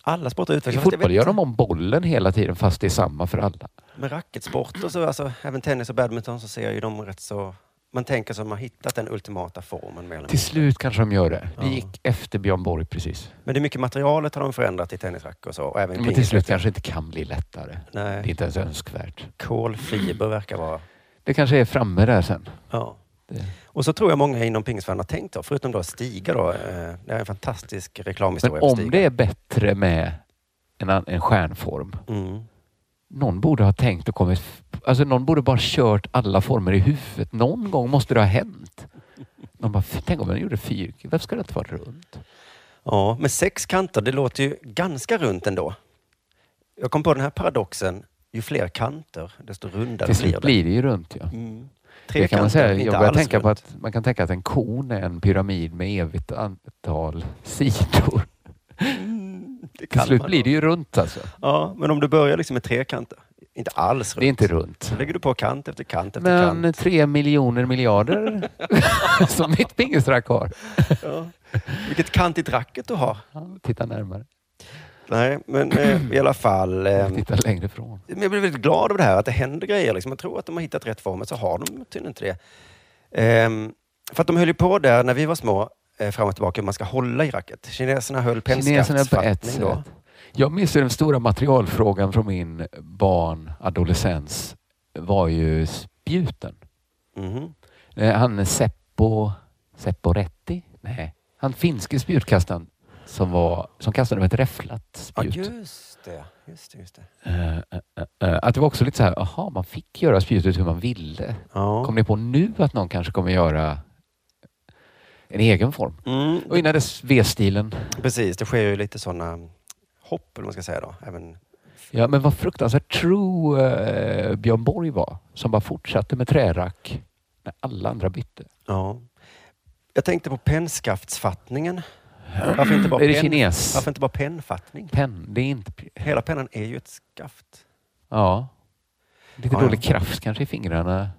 [SPEAKER 8] alla sporter
[SPEAKER 9] I
[SPEAKER 8] utvecklas. Fast jag
[SPEAKER 9] fotboll
[SPEAKER 8] vet
[SPEAKER 9] gör
[SPEAKER 8] inte.
[SPEAKER 9] de om bollen hela tiden fast det är samma för alla.
[SPEAKER 8] Med racketsport och så, alltså, även tennis och badminton, så ser ju de rätt så... Man tänker sig att man har hittat den ultimata formen. Mer eller
[SPEAKER 9] Till
[SPEAKER 8] mindre.
[SPEAKER 9] slut kanske de gör det. Vi
[SPEAKER 8] Ja.
[SPEAKER 9] gick efter Björn Borg precis.
[SPEAKER 8] Men det är mycket materialet har de förändrat i tennisracket och så. Och även
[SPEAKER 9] Men till
[SPEAKER 8] pingis.
[SPEAKER 9] slut kanske inte kan bli lättare. Det är
[SPEAKER 8] Nej,
[SPEAKER 9] inte ens önskvärt.
[SPEAKER 8] kolfiber verkar vara...
[SPEAKER 9] Det kanske är framme där sen.
[SPEAKER 8] Ja.
[SPEAKER 9] Det-
[SPEAKER 8] Och så tror jag många inom pingisvärlden har tänkt då, förutom då Stiga då. eh, Det är en fantastisk
[SPEAKER 9] Men
[SPEAKER 8] reklamhistoria för
[SPEAKER 9] om
[SPEAKER 8] Stiga.
[SPEAKER 9] det är bättre med en, an- en stjärnform.
[SPEAKER 8] Mm.
[SPEAKER 9] Någon borde ha tänkt och kommit... Alltså någon borde bara kört alla former i huvudet. Någon gång måste det ha hänt. Någon bara, tänk om den gjorde fyrkant. Varför ska det inte vara runt?
[SPEAKER 8] Ja, men sex kanter, det låter ju ganska runt ändå. Jag kom på den här paradoxen. Ju fler kanter, desto rundare
[SPEAKER 9] Till slut
[SPEAKER 8] blir det.
[SPEAKER 9] blir det ju runt ja.
[SPEAKER 8] Mm.
[SPEAKER 9] Det kan man säga.
[SPEAKER 8] inte
[SPEAKER 9] Jag börjar
[SPEAKER 8] alls
[SPEAKER 9] tänka på
[SPEAKER 8] runt.
[SPEAKER 9] att man kan tänka att en kon är en pyramid med evigt antal sidor.
[SPEAKER 8] Det
[SPEAKER 9] Till
[SPEAKER 8] kan
[SPEAKER 9] slut
[SPEAKER 8] man
[SPEAKER 9] blir
[SPEAKER 8] då.
[SPEAKER 9] det ju runt alltså.
[SPEAKER 8] Ja, men om du börjar liksom med trekanter. Inte alls runt.
[SPEAKER 9] Det är inte runt.
[SPEAKER 8] Så lägger du på kant efter kant efter
[SPEAKER 9] Men
[SPEAKER 8] kant.
[SPEAKER 9] tre miljoner miljarder som mitt pingisrack har.
[SPEAKER 8] Ja. Vilket kantigt racket du har.
[SPEAKER 9] Ja, Titta närmare.
[SPEAKER 8] Nej, men eh, i alla fall. Eh,
[SPEAKER 9] Titta längre ifrån.
[SPEAKER 8] men jag blir väldigt glad över det här, att det händer grejer. Liksom. Jag tror att de har hittat rätt form, men så har de tydligen inte det. Ehm, för att de höll ju på där när vi var små, eh, fram och tillbaka, hur man ska hålla i racket. Kineserna höll
[SPEAKER 9] Kineserna på ett
[SPEAKER 8] penskaftsfattning då.
[SPEAKER 9] sätt. Jag minns ju den stora materialfrågan från min barn, adolescens, var ju spjuten.
[SPEAKER 8] Mhm.
[SPEAKER 9] Eh, Han Seppo, Seppo Retti? Nej, han finske spjutkastaren som, var, som kastade med ett räfflat
[SPEAKER 8] Ja,
[SPEAKER 9] spjut.
[SPEAKER 8] just det. Just det, just det.
[SPEAKER 9] Eh, eh, eh, eh, att det var också lite så här, aha, man fick göra spjutet hur man ville.
[SPEAKER 8] Ja.
[SPEAKER 9] Kom ni på nu att någon kanske kommer göra en egen form?
[SPEAKER 8] Mm,
[SPEAKER 9] Och innan dess V-stilen.
[SPEAKER 8] Precis, det sker ju lite sådana hopp, eller vad man ska säga då. Även,
[SPEAKER 9] Ja, men vad fruktansvärt true eh, Björn Borg var som bara fortsatte med trärack när alla andra bytte.
[SPEAKER 8] ja. Jag tänkte på pennskaftsfattningen. Varför inte bara,
[SPEAKER 9] Är det
[SPEAKER 8] penn-
[SPEAKER 9] kines?
[SPEAKER 8] varför inte bara pennfattning?
[SPEAKER 9] Penn, det är inte...
[SPEAKER 8] Hela pennan är ju ett skaft.
[SPEAKER 9] Ja. Lite
[SPEAKER 8] Ja, ja.
[SPEAKER 9] dålig kraft kanske i fingrarna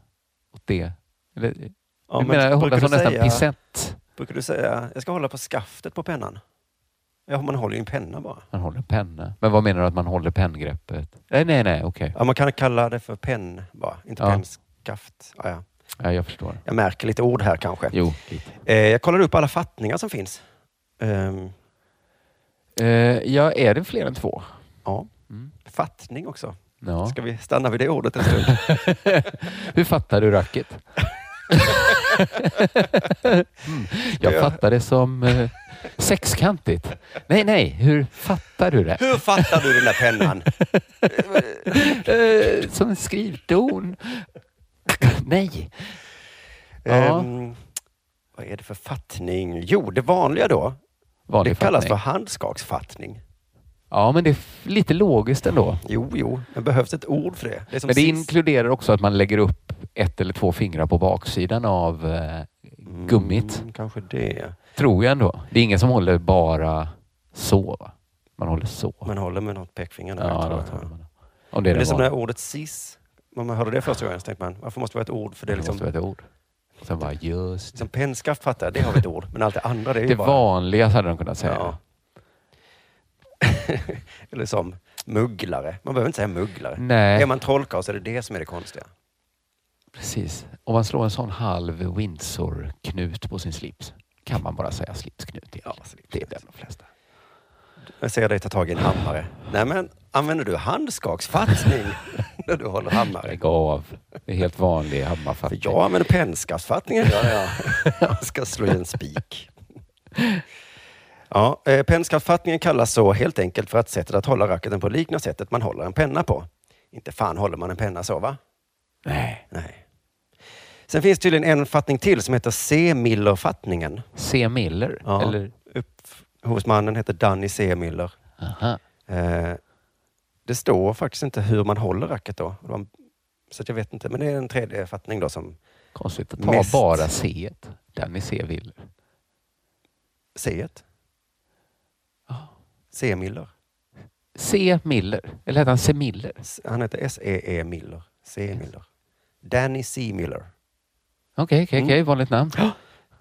[SPEAKER 9] åt det. Eller,
[SPEAKER 8] Ja,
[SPEAKER 9] du menar hålla
[SPEAKER 8] brukar,
[SPEAKER 9] som
[SPEAKER 8] du
[SPEAKER 9] nästan
[SPEAKER 8] säga,
[SPEAKER 9] pisett?
[SPEAKER 8] brukar du säga, jag ska hålla på skaftet på pennan? Ja, man håller ju en penna bara.
[SPEAKER 9] Man håller penna. Men vad menar du att man håller penngreppet? Nej, nej, nej, okej.
[SPEAKER 8] Ja, man kan kalla det för penn bara, inte
[SPEAKER 9] Ja.
[SPEAKER 8] pennskaft. Ja, ja.
[SPEAKER 9] Ja, jag förstår.
[SPEAKER 8] Jag märker lite ord här kanske.
[SPEAKER 9] Jo, lite.
[SPEAKER 8] Eh, jag kollade upp alla fattningar som finns. Ehm,
[SPEAKER 9] Eh, ja, är det fler än två?
[SPEAKER 8] ja,
[SPEAKER 9] Mm.
[SPEAKER 8] fattning också.
[SPEAKER 9] Ja.
[SPEAKER 8] Ska vi stanna vid det ordet en stund?
[SPEAKER 9] Hur fattar du racket? mm. Jag fattar det som eh, sexkantigt. Nej, nej, hur fattar du det?
[SPEAKER 8] Hur fattar du den där pennan?
[SPEAKER 9] Eh, som en skrivdon. nej. Ja.
[SPEAKER 8] Ehm, vad är det för fattning? Jo, det vanliga då.
[SPEAKER 9] Vanlig
[SPEAKER 8] det kallas för
[SPEAKER 9] fattning.
[SPEAKER 8] handskaksfattning.
[SPEAKER 9] Ja, men det är f- lite logiskt ändå.
[SPEAKER 8] Jo, jo, men behövs ett ord för det? det är Mm. som
[SPEAKER 9] Men det
[SPEAKER 8] sist.
[SPEAKER 9] inkluderar också att man lägger upp ett eller två fingrar på baksidan av eh, gummit.
[SPEAKER 8] Mm, kanske det.
[SPEAKER 9] Tror jag ändå. Det är ingen som håller bara så. Va? Man håller så.
[SPEAKER 8] Man håller med något pekfinger där.
[SPEAKER 9] Ja,
[SPEAKER 8] tror
[SPEAKER 9] då
[SPEAKER 8] jag.
[SPEAKER 9] håller
[SPEAKER 8] Men
[SPEAKER 9] man det. Om det är
[SPEAKER 8] det är
[SPEAKER 9] det
[SPEAKER 8] som det här
[SPEAKER 9] vanliga.
[SPEAKER 8] ordet cis. När man hörde det första gången så tänkte man, varför måste det vara ett ord? För det
[SPEAKER 9] Det
[SPEAKER 8] är
[SPEAKER 9] måste
[SPEAKER 8] liksom,
[SPEAKER 9] vara ett ord. Och sen bara just det.
[SPEAKER 8] liksom pennskaft fattar jag, det har vi ett ord. Men allt det andra det är ju
[SPEAKER 9] Det
[SPEAKER 8] bara...
[SPEAKER 9] vanliga hade de kunnat säga.
[SPEAKER 8] Ja. Eller som mugglare. Man behöver inte säga mugglare.
[SPEAKER 9] Nej.
[SPEAKER 8] Är man trollkarl så är det det som är det konstiga.
[SPEAKER 9] Precis. Om man slår en sån halv Windsor-knut på sin slips kan man bara säga slipsknut. Ja, det är den de flesta.
[SPEAKER 8] Jag ser dig ta tag i en hammare. Nej men, använder du handskaksfattning när du håller hammare? Lägg
[SPEAKER 9] av. Det är helt vanlig hammarfattning.
[SPEAKER 8] Jag använder pennskaftfattningen gör jag. Jag ska slå i en spik. Ja, eh, pennskaftfattningen kallas så helt enkelt för att sättet att hålla racketen på liknar sättet man håller en penna på. Inte fan håller man en penna så va?
[SPEAKER 9] Nej.
[SPEAKER 8] Nej. Sen finns tydligen en fattning till som heter C. Miller-fattningen.
[SPEAKER 9] C. Miller?
[SPEAKER 8] Ja.
[SPEAKER 9] Eller?
[SPEAKER 8] Upphovsmannen heter Danny C. Miller.
[SPEAKER 9] Aha.
[SPEAKER 8] Eh, det står faktiskt inte hur man håller racket då. Det var en- Så att jag vet inte. Men det är en tredje fattning då som
[SPEAKER 9] Konstigt att ta
[SPEAKER 8] Mest.
[SPEAKER 9] bara C. Den i C. Miller.
[SPEAKER 8] C. C. Miller.
[SPEAKER 9] C. Miller. Eller hette han C. Miller?
[SPEAKER 8] Han heter S.E.E. Miller. C. Miller. Danny C. Miller.
[SPEAKER 9] Okej,
[SPEAKER 8] Mm.
[SPEAKER 9] okej, okej. Vanligt namn.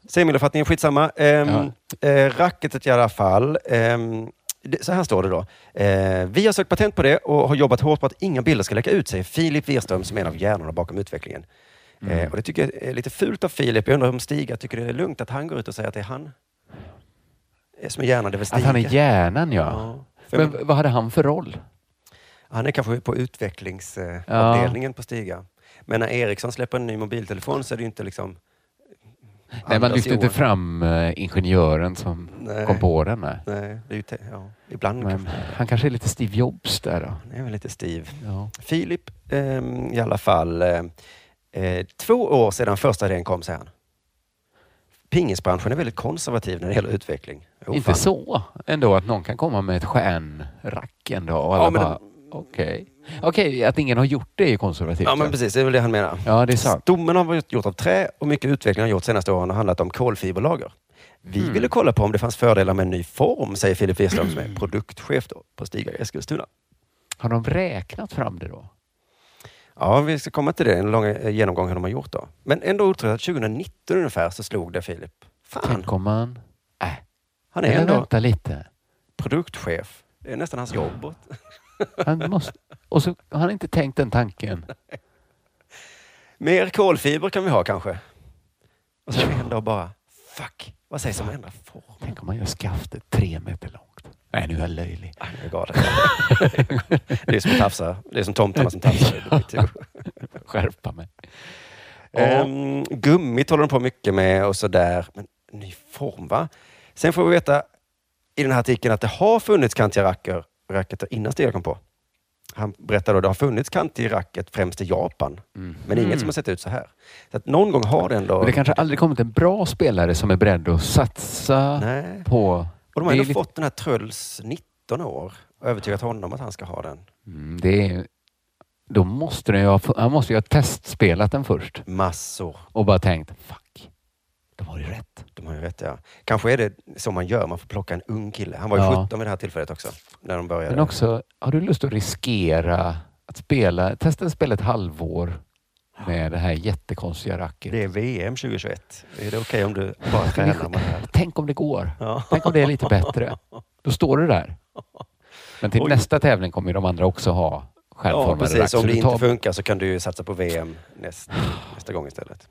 [SPEAKER 8] Semilfattningen, skitsamma. Um, racketet i alla fall. Ehm, det, så här står det då. Eh, vi har sökt patent på det och har jobbat hårt på att inga bilder ska läcka ut, säger Filip Wirström som är en av hjärnorna bakom utvecklingen.
[SPEAKER 9] Mm.
[SPEAKER 8] Eh, och Det tycker jag är lite fult av Filip. Jag undrar om Stiga tycker det är lugnt att han går ut och säger att det är han eh, som är hjärnan. Det är väl Stiga?
[SPEAKER 9] Att han är hjärnan, ja.
[SPEAKER 8] För jag
[SPEAKER 9] Men vad hade han för roll?
[SPEAKER 8] Han är kanske på utvecklingsavdelningen på Stiga. Men när Ericsson släpper en ny mobiltelefon så är det ju inte liksom...
[SPEAKER 9] Nej, man
[SPEAKER 8] Anders
[SPEAKER 9] lyfte inte
[SPEAKER 8] Johan.
[SPEAKER 9] fram eh, ingenjören som
[SPEAKER 8] Nej. Mm.
[SPEAKER 9] kom på den. Nej.
[SPEAKER 8] Nej, det är ju te- ja, ibland
[SPEAKER 9] Men
[SPEAKER 8] kanske.
[SPEAKER 9] han kanske är lite Steve Jobs där då.
[SPEAKER 8] Han är väl lite stiv.
[SPEAKER 9] Ja.
[SPEAKER 8] Filip ehm, i alla fall. Eh, eh, två år sedan första idén kom, säger han. Pingisbranschen är väldigt konservativ när det gäller utveckling. Jo,
[SPEAKER 9] inte
[SPEAKER 8] fan.
[SPEAKER 9] så ändå att någon kan komma med ett stjärnrack en dag och alla
[SPEAKER 8] Ja, men-
[SPEAKER 9] bara okej. Okej, att ingen har gjort det är ju konservativt.
[SPEAKER 8] Ja, men precis. Det är väl det han menar.
[SPEAKER 9] Ja, det är sant.
[SPEAKER 8] Stommen har varit gjort av trä och mycket utveckling har gjorts senaste åren har handlat om kolfiberlager. Vi
[SPEAKER 9] Mm.
[SPEAKER 8] ville kolla på om det fanns fördelar med en ny form, säger Filip Wirström som är produktchef då, på Stiga i Eskilstuna.
[SPEAKER 9] Har de räknat fram det då?
[SPEAKER 8] Ja, vi ska komma till det, en lång eh, genomgång hur de har gjort då. Men ändå otroligt att 2019 ungefär så slog det Filip. Fan,
[SPEAKER 9] Tänk om man... Äh,
[SPEAKER 8] han är
[SPEAKER 9] eller
[SPEAKER 8] ändå
[SPEAKER 9] vänta lite.
[SPEAKER 8] produktchef. Det är nästan hans jobb.
[SPEAKER 9] Han måste... Och så har han inte tänkt den tanken.
[SPEAKER 8] Mer kolfiber kan vi ha kanske. Och så en dag bara, fuck, vad sägs om att ändra form?
[SPEAKER 9] Tänk om man gör skaftet tre meter långt. Nej, nu är jag löjlig.
[SPEAKER 8] Ah, jag är galen. Det är som att tafsa. Det är som tomtarna som tafsar. Det blir tur.
[SPEAKER 9] Skärpa mig.
[SPEAKER 8] Ehm, gummit håller de på mycket med och sådär. Men ny form va? Sen får vi veta i den här artikeln att det har funnits kantiga racker, racketar innan Stig kom på. Han berättade att det har funnits kantig racket främst i Japan. Men inget som har sett ut så här. Så att någon gång har det ändå...
[SPEAKER 9] Mm. Men det kanske aldrig kommit en bra spelare som är beredd att satsa
[SPEAKER 8] Nej.
[SPEAKER 9] på...
[SPEAKER 8] Och de har
[SPEAKER 9] det,
[SPEAKER 8] ändå
[SPEAKER 9] är lite-
[SPEAKER 8] fått den här Trulls 19 år och övertygat honom att han ska ha den.
[SPEAKER 9] Mm, det är... Då måste den ju ha... fu- Han måste ju ha testspelat den först
[SPEAKER 8] Massor.
[SPEAKER 9] och bara tänkt fuck, de har ju rätt.
[SPEAKER 8] De har ju rätt, ja. Kanske är det så man gör, man får plocka en ung kille. Han var ju
[SPEAKER 9] Ja.
[SPEAKER 8] 17 vid det här tillfället också, när de började.
[SPEAKER 9] Men också, har du lust att riskera att spela, testa att spela ett halvår med det här jättekonstiga racket?
[SPEAKER 8] Det är VM 2021. Är det okej om du bara tränar med det här?
[SPEAKER 9] Tänk om det går.
[SPEAKER 8] Ja.
[SPEAKER 9] Tänk om det är lite bättre. Då står du där. Men till
[SPEAKER 8] Oj.
[SPEAKER 9] nästa tävling kommer ju de andra också ha
[SPEAKER 8] Ja,
[SPEAKER 9] självformade rack.
[SPEAKER 8] precis.
[SPEAKER 9] Så
[SPEAKER 8] Om det
[SPEAKER 9] du
[SPEAKER 8] inte
[SPEAKER 9] tar-
[SPEAKER 8] funkar så kan du ju satsa på VM nästa, nästa gång istället.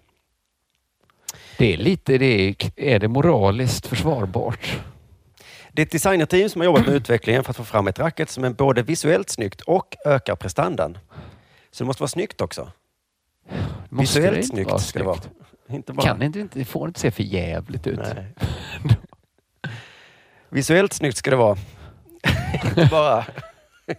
[SPEAKER 9] Det är lite, det är, är det moraliskt försvarbart?
[SPEAKER 8] Det är ett designerteam som har jobbat med utvecklingen för att få fram ett racket som är både visuellt snyggt och ökar prestandan. Så det måste vara snyggt också.
[SPEAKER 9] Måste
[SPEAKER 8] visuellt
[SPEAKER 9] inte
[SPEAKER 8] snyggt
[SPEAKER 9] vara
[SPEAKER 8] ska det vara. Inte bara.
[SPEAKER 9] Kan inte, inte, det får inte se för jävligt ut.
[SPEAKER 8] Nej. Visuellt snyggt ska det vara. inte bara,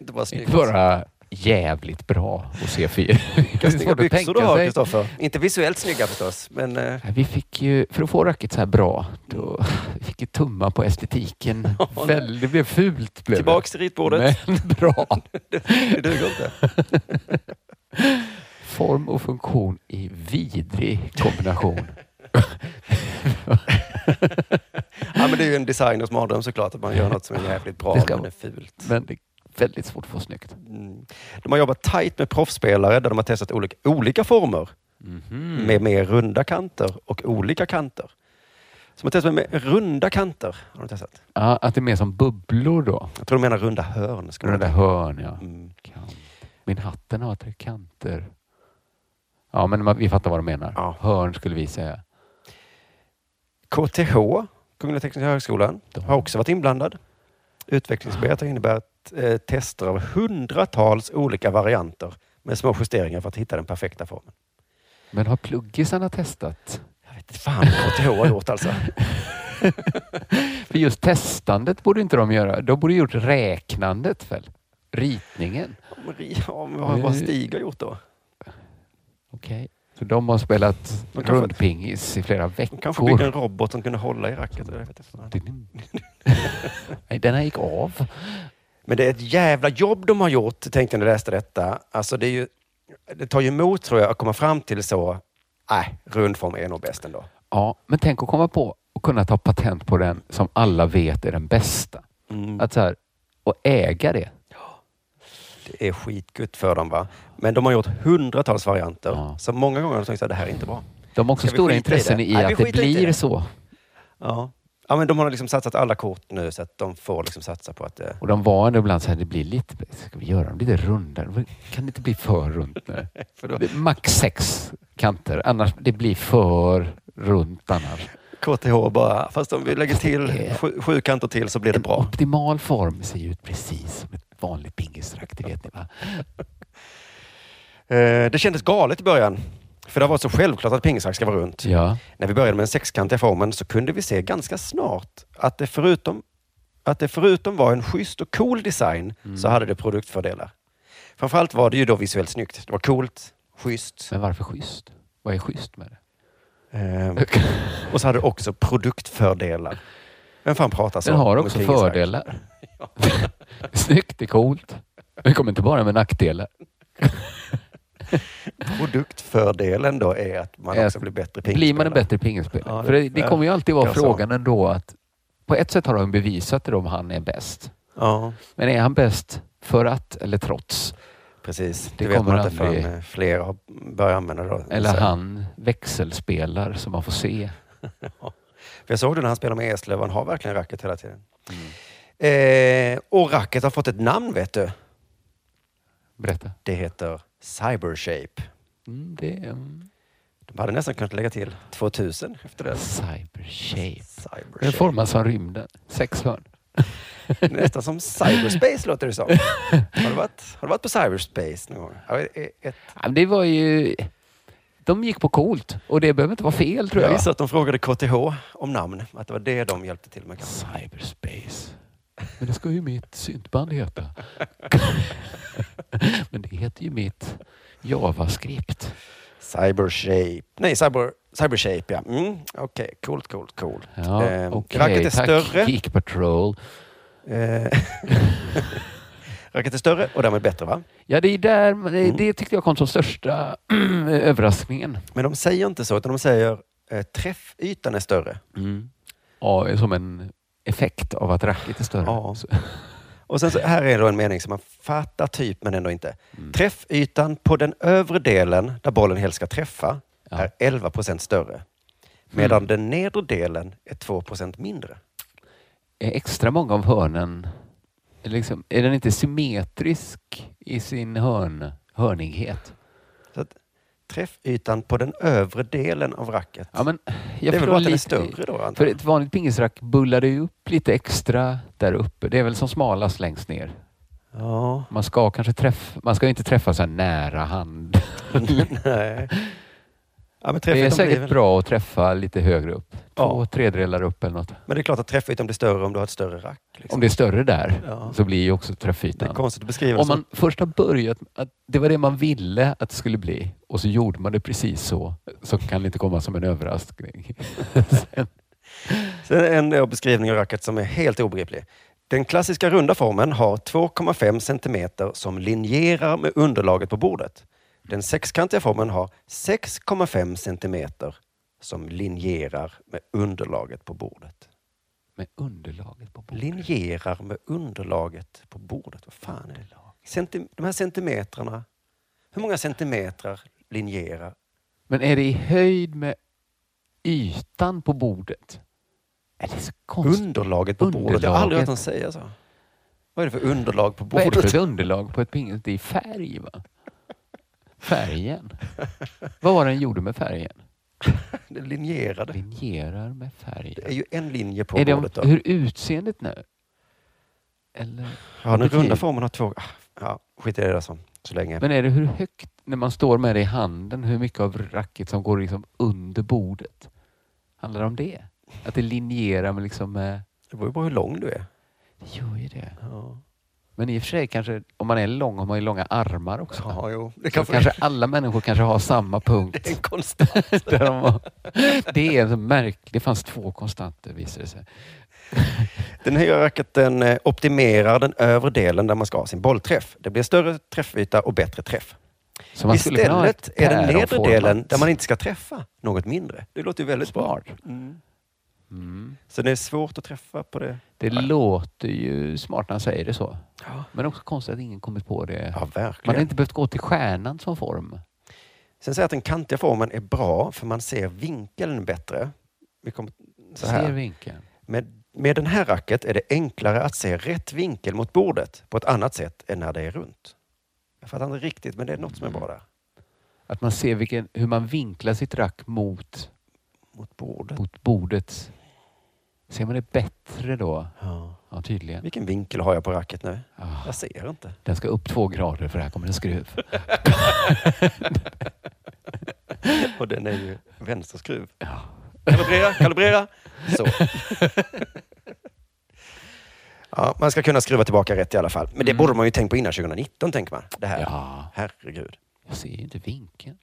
[SPEAKER 8] inte bara snyggt.
[SPEAKER 9] Inte bara jävligt bra att se för Det är
[SPEAKER 8] Vilka snygga
[SPEAKER 9] svårt att
[SPEAKER 8] byxor du
[SPEAKER 9] tänka
[SPEAKER 8] har,
[SPEAKER 9] sig.
[SPEAKER 8] Kristoffer. Inte visuellt snygga förstås, men eh,
[SPEAKER 9] Vi fick ju, för att få racket så här bra, då vi fick ju tumma på estetiken.
[SPEAKER 8] Ja,
[SPEAKER 9] Väl- Det blev fult. Blev det.
[SPEAKER 8] tillbaks till ritbordet.
[SPEAKER 9] Men bra.
[SPEAKER 8] Det duger inte.
[SPEAKER 9] Form och funktion i vidrig kombination.
[SPEAKER 8] Ja, men det är ju en designers mardröm såklart, att man gör något som är jävligt bra
[SPEAKER 9] Det ska
[SPEAKER 8] men
[SPEAKER 9] vara.
[SPEAKER 8] är fult.
[SPEAKER 9] Men det är väldigt svårt att få snyggt.
[SPEAKER 8] Mm. De har jobbat tajt med proffsspelare där de har testat olika, olika former
[SPEAKER 9] Mhm.
[SPEAKER 8] med mer runda kanter och olika kanter. Som har testat med runda kanter. Har de testat.
[SPEAKER 9] Ja, att det är mer som bubblor då.
[SPEAKER 8] Jag tror de menar runda hörn. Skulle
[SPEAKER 9] Runda
[SPEAKER 8] de-
[SPEAKER 9] hörn, ja.
[SPEAKER 8] Mm.
[SPEAKER 9] Kant. Min hatten har tre kanter. Ja, men man, vi fattar vad de menar. Hörn skulle vi säga.
[SPEAKER 8] KTH, Kungliga Tekniska högskolan, har också varit inblandad. Utvecklingsarbetet har inneburit eh, tester av hundratals olika varianter med små justeringar för att hitta den perfekta formen.
[SPEAKER 9] Men har pluggisarna testat?
[SPEAKER 8] Jag vet inte fan vad KTH har gjort alltså.
[SPEAKER 9] För just testandet borde inte de göra. De borde gjort räknandet väl? Ritningen.
[SPEAKER 8] Ja, men vad vad Stig har gjort då?
[SPEAKER 9] Okej. Så de har spelat
[SPEAKER 8] De kanske-
[SPEAKER 9] rundpingis i flera veckor.
[SPEAKER 8] De kanske byggde en robot som kunde hålla i racket. Jag vet inte fan.
[SPEAKER 9] Nej, den här gick av.
[SPEAKER 8] Men det är ett jävla jobb de har gjort, tänkte jag när jag läste detta. Alltså det, är ju, det tar ju emot tror jag att komma fram till så, nej, rundform är nog bäst ändå.
[SPEAKER 9] Ja, men tänk att komma på och kunna ta patent på den som alla vet är den bästa.
[SPEAKER 8] Mm,
[SPEAKER 9] Att så här, och äga det.
[SPEAKER 8] Det är skitgött för dem va. Men de har gjort hundratals varianter. Så många gånger har de tänkt att det här är inte bra.
[SPEAKER 9] De har också
[SPEAKER 8] Ska vi
[SPEAKER 9] stora
[SPEAKER 8] skita
[SPEAKER 9] intressen i,
[SPEAKER 8] Nej, vi
[SPEAKER 9] att det
[SPEAKER 8] skiter inte i
[SPEAKER 9] blir så.
[SPEAKER 8] Ja. ja, men de har liksom satsat alla kort nu så att de får liksom satsa på att det...
[SPEAKER 9] Och de var ändå ibland så här, det blir lite, ska vi göra dem lite rundare? Kan det inte bli för runt nu? Det är Max sex kanter, annars det blir för runt annars.
[SPEAKER 8] KTH bara, fast om vi lägger till sju, sju kanter till så blir det bra.
[SPEAKER 9] Optimal form ser ju ut precis som ett vanligt pingisrack, det vet ni va?
[SPEAKER 8] Eh, Det kändes galet i början. För det var så självklart att pingisrack ska vara runt.
[SPEAKER 9] Ja.
[SPEAKER 8] När vi började med den sexkantiga formen så kunde vi se ganska snart att det förutom, att det förutom var en schysst och cool design
[SPEAKER 9] Mm.
[SPEAKER 8] så hade det produktfördelar. Framförallt var det ju då visuellt snyggt. Det var coolt, schysst.
[SPEAKER 9] Men varför schysst? Vad är schysst med det?
[SPEAKER 8] Ehm, och så hade det också produktfördelar. Vem fan pratar så?
[SPEAKER 9] Den har
[SPEAKER 8] om
[SPEAKER 9] också
[SPEAKER 8] en pingisrack?
[SPEAKER 9] fördelar. Snyggt, det är coolt. Den kommer inte bara med nackdelar.
[SPEAKER 8] Produktfördelen då är att man
[SPEAKER 9] Är
[SPEAKER 8] också
[SPEAKER 9] att
[SPEAKER 8] blir bättre
[SPEAKER 9] Blir man en
[SPEAKER 8] pingisspelare.
[SPEAKER 9] bättre pingisspelare?
[SPEAKER 8] Ja,
[SPEAKER 9] För det, det kommer ju alltid vara
[SPEAKER 8] jag sa.
[SPEAKER 9] frågan ändå att på ett sätt har de bevisat det om han är bäst.
[SPEAKER 8] Ja,
[SPEAKER 9] Men är han bäst för att eller trots?
[SPEAKER 8] precis.
[SPEAKER 9] Det
[SPEAKER 8] Det, vet
[SPEAKER 9] kommer
[SPEAKER 8] man inte
[SPEAKER 9] aldrig-
[SPEAKER 8] förrän eh, fler har börjat använda det. då.
[SPEAKER 9] Eller
[SPEAKER 8] Så-
[SPEAKER 9] han växelspelar som man får se.
[SPEAKER 8] För jag såg det när han spelade med Eslöv, han har verkligen racket hela tiden.
[SPEAKER 9] Mm.
[SPEAKER 8] Eh, och racket har fått ett namn vet du.
[SPEAKER 9] Berätta.
[SPEAKER 8] Det heter Cybershape.
[SPEAKER 9] Mm, det är en
[SPEAKER 8] De hade nästan kunnat lägga till 2000 efter det.
[SPEAKER 9] cybershape. Den
[SPEAKER 8] Cybershape.
[SPEAKER 9] formas som rymden. Sex hörn.
[SPEAKER 8] Nästan som cyberspace låter det som. Har du varit, har du varit på cyberspace någon gång? Ja, eh, Ett, ett,
[SPEAKER 9] Ja, men Det var ju... De gick på coolt och det behöver inte vara fel tror
[SPEAKER 8] jag
[SPEAKER 9] jag.
[SPEAKER 8] gissar att de frågade KTH om namn. Att det var det de hjälpte till med. kanske.
[SPEAKER 9] Cyberspace. Men det ska ju mitt syntband heta. Men det heter ju mitt Javascript.
[SPEAKER 8] Cybershape. Nej, cyber, cybershape ja. Mm, Okej, coolt, coolt, coolt.
[SPEAKER 9] Ja,
[SPEAKER 8] Eh,
[SPEAKER 9] okej.
[SPEAKER 8] Racket är
[SPEAKER 9] Tack,
[SPEAKER 8] större.
[SPEAKER 9] Geek Patrol.
[SPEAKER 8] Eh, Racket är större och därmed bättre va?
[SPEAKER 9] Ja, det, är där, men
[SPEAKER 8] Mm.
[SPEAKER 9] det, det tyckte jag kom som största överraskningen.
[SPEAKER 8] Men de säger inte så, utan de säger eh, träffytan är större.
[SPEAKER 9] Ja, som en effekt av att racket är större.
[SPEAKER 8] Ja.
[SPEAKER 9] Så-
[SPEAKER 8] Och sen så här är då en mening som man fattar typ, men ändå inte.
[SPEAKER 9] Mm.
[SPEAKER 8] Träffytan på den övre delen, där bollen helst ska träffa, är 11 procent större. Medan
[SPEAKER 9] Mm.
[SPEAKER 8] den nedre delen är 2 procent mindre.
[SPEAKER 9] Är extra många av hörnen... är Liksom, är den inte symmetrisk i sin hörn, hörnighet?
[SPEAKER 8] Så att, träffytan på den övre delen av racket.
[SPEAKER 9] Ja, men
[SPEAKER 8] det
[SPEAKER 9] jag
[SPEAKER 8] är väl
[SPEAKER 9] förstår
[SPEAKER 8] bara att den är
[SPEAKER 9] lite-
[SPEAKER 8] större då? antar
[SPEAKER 9] För
[SPEAKER 8] jag.
[SPEAKER 9] ett vanligt pingisrack bullar det ju upp lite extra där uppe. Det är väl som smalast längst ner.
[SPEAKER 8] Ja,
[SPEAKER 9] Man ska kanske träffa, man ska ju inte träffa så här nära hand.
[SPEAKER 8] nej. Ja, men
[SPEAKER 9] Det är
[SPEAKER 8] träffytan blir
[SPEAKER 9] säkert
[SPEAKER 8] väl-
[SPEAKER 9] bra att träffa lite högre upp. Två
[SPEAKER 8] Ja.
[SPEAKER 9] tredjedelar upp eller något.
[SPEAKER 8] Men det är klart att träffytan blir större om du har ett större rack. liksom.
[SPEAKER 9] Om det är större där
[SPEAKER 8] Ja.
[SPEAKER 9] så blir ju också
[SPEAKER 8] Det är
[SPEAKER 9] träffytan.
[SPEAKER 8] konstigt att beskriva det
[SPEAKER 9] Om
[SPEAKER 8] som
[SPEAKER 9] man först har börjat, att det var det man ville att det skulle bli och så gjorde man det precis så, så kan det inte komma som en överraskning.
[SPEAKER 8] Sen en eh, beskrivning av racket som är helt obegriplig. Den klassiska runda formen har 2,5 centimeter som linjerar med underlaget på bordet. Den sexkantiga formen har 6,5 centimeter som linjerar med underlaget på bordet.
[SPEAKER 9] Med underlaget på bordet.
[SPEAKER 8] Linjerar med underlaget på bordet. Vad fan är det? Centi- de här centimetrarna. Hur många centimetrar linjerar?
[SPEAKER 9] Men är det i höjd med ytan på bordet? Är det så konstigt?
[SPEAKER 8] Underlaget på bordet. Jag har aldrig hört någon säga så. Vad är det för underlag på
[SPEAKER 9] Vad är det för
[SPEAKER 8] bordet?
[SPEAKER 9] underlag på ett pingis? Det är färg va? Färgen. Vad var det den gjorde med färgen?
[SPEAKER 8] Den linjerade.
[SPEAKER 9] Linjerar med färgen.
[SPEAKER 8] Det är ju en linje på
[SPEAKER 9] Är det om-
[SPEAKER 8] bordet. Då.
[SPEAKER 9] hur utseendet nu? Eller?
[SPEAKER 8] Ja, den
[SPEAKER 9] Det fin-
[SPEAKER 8] runda formen har två... ah, Ja, skit i det där så, så länge.
[SPEAKER 9] Men är det hur högt, när man står med det i handen, hur mycket av racket som går liksom under bordet? Handlar det om det? Att det linjerar med liksom... Det
[SPEAKER 8] beror ju på hur lång du är.
[SPEAKER 9] Det gör ju det. Men i och för sig kanske, om man är lång har man ju långa armar också.
[SPEAKER 8] Ja, jo.
[SPEAKER 9] Det
[SPEAKER 8] kanske-
[SPEAKER 9] kanske... kanske alla människor kanske har samma punkt. Det
[SPEAKER 8] är en konstant.
[SPEAKER 9] Där de har... Det är så märkligt. Det fanns två konstanter visade det sig.
[SPEAKER 8] Den nya racketen eh, optimerar den övre delen där man ska ha sin bollträff. Det blir större träffyta och bättre träff.
[SPEAKER 9] Så man skulle kunna ha ett
[SPEAKER 8] Istället är den nedre
[SPEAKER 9] päronformat.
[SPEAKER 8] delen där man inte ska träffa något mindre. Det låter ju väldigt bra. Mm.
[SPEAKER 9] Mm.
[SPEAKER 8] Så det är svårt att träffa på det.
[SPEAKER 9] Det låter ju smart när han säger det så.
[SPEAKER 8] Ja.
[SPEAKER 9] Men också konstigt att ingen kommit på det.
[SPEAKER 8] Ja,
[SPEAKER 9] Man
[SPEAKER 8] verkligen.
[SPEAKER 9] har inte behövt gå till stjärnan som form.
[SPEAKER 8] Sen säger jag att den kantiga formen är bra för man ser vinkeln bättre. Vi kommer så här.
[SPEAKER 9] Ser vinkeln.
[SPEAKER 8] Med, med den här racket är det enklare att se rätt vinkel mot bordet på ett annat sätt än när det är runt. Jag fattar inte riktigt, men det är något som är bra där.
[SPEAKER 9] Att man ser vilken, hur man vinklar sitt rack mot,
[SPEAKER 8] mot, bordet.
[SPEAKER 9] mot bordet. Ser man det bättre då?
[SPEAKER 8] Ja.
[SPEAKER 9] tydligen.
[SPEAKER 8] Vilken vinkel har jag på racket nu? Jag ser inte.
[SPEAKER 9] Den ska upp två grader för här kommer en skruv.
[SPEAKER 8] Och den är ju vänsterskruv. Kalibrera, kalibrera! Så. Ja, man ska kunna skruva tillbaka rätt i alla fall. Men det borde man ju tänkt på innan 2019, tänker man. Det här. Herregud.
[SPEAKER 9] Jag ser ju inte vinkeln.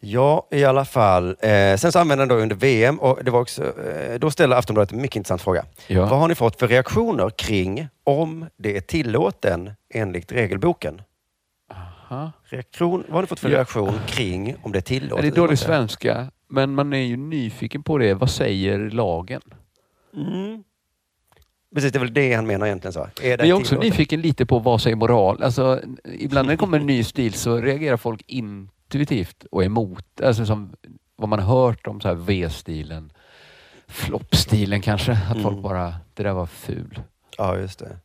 [SPEAKER 8] Ja, i alla fall. Eh, sen så använde han då under VM och det var också, eh, då ställde Aftonbladet en mycket intressant fråga.
[SPEAKER 9] Ja.
[SPEAKER 8] Vad har ni fått för reaktioner kring om det är tillåten enligt regelboken?
[SPEAKER 9] Aha.
[SPEAKER 8] Reaktion, vad har ni fått för
[SPEAKER 9] Ja.
[SPEAKER 8] reaktion kring om det är tillåtet?
[SPEAKER 9] det är
[SPEAKER 8] eller
[SPEAKER 9] dålig
[SPEAKER 8] inte?
[SPEAKER 9] svenska, men man är ju nyfiken på det. Vad säger lagen?
[SPEAKER 8] Mm. Precis, det är väl det han menar egentligen. Så. Är det
[SPEAKER 9] Men jag är också
[SPEAKER 8] tillåtet?
[SPEAKER 9] nyfiken lite på vad säger moral? Alltså, ibland när det kommer en ny stil så reagerar folk intuitivt och emot. Alltså som vad man har hört om så här V-stilen, floppstilen kanske. Att
[SPEAKER 8] Mm.
[SPEAKER 9] folk bara, det där var ful.
[SPEAKER 8] Ja, just det.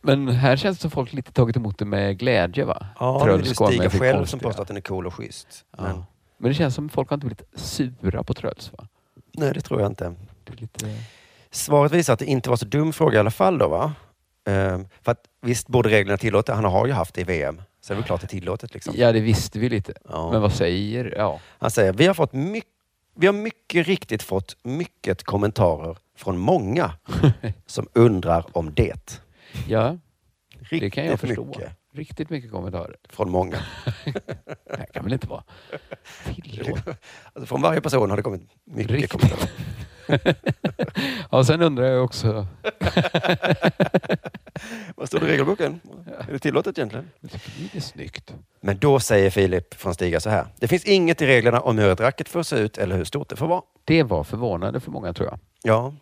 [SPEAKER 9] Men här känns det som folk lite tagit emot det med glädje va?
[SPEAKER 8] Ja, nu är det
[SPEAKER 9] Trölls går
[SPEAKER 8] Stiga
[SPEAKER 9] med sitt
[SPEAKER 8] själv som
[SPEAKER 9] konstiga.
[SPEAKER 8] påstår att den är cool och schysst.
[SPEAKER 9] Ja.
[SPEAKER 8] Men,
[SPEAKER 9] Men det känns som folk har inte blivit sura på Trölls va?
[SPEAKER 8] nej, det tror jag inte.
[SPEAKER 9] Det är lite...
[SPEAKER 8] Svaret visar att det inte var så dum fråga i alla fall. Då, va? Ehm, för att visst borde reglerna tillåta, han har ju haft det i VM. Så är det väl klart det är tillåtet. Liksom.
[SPEAKER 9] Ja, det visste vi lite.
[SPEAKER 8] Ja.
[SPEAKER 9] Men vad säger... Ja.
[SPEAKER 8] Han säger, vi har, fått mycket, vi har mycket riktigt fått mycket kommentarer från många som undrar om det.
[SPEAKER 9] Ja, det
[SPEAKER 8] Riktigt
[SPEAKER 9] kan jag förstå.
[SPEAKER 8] mycket.
[SPEAKER 9] Riktigt mycket kommentarer.
[SPEAKER 8] Från många.
[SPEAKER 9] det här kan väl inte vara tillåtet?
[SPEAKER 8] Alltså, från varje person har det kommit mycket
[SPEAKER 9] Riktigt.
[SPEAKER 8] kommentarer.
[SPEAKER 9] Ja, sen undrar jag också...
[SPEAKER 8] Vad står det i regelboken? Är det tillåtet egentligen?
[SPEAKER 9] Det är snyggt.
[SPEAKER 8] Men då säger Filip från Stiga så här. Det finns inget i reglerna om hur ett racket får se ut eller hur stort det får vara.
[SPEAKER 9] Det var förvånande för många tror jag.
[SPEAKER 8] Ja.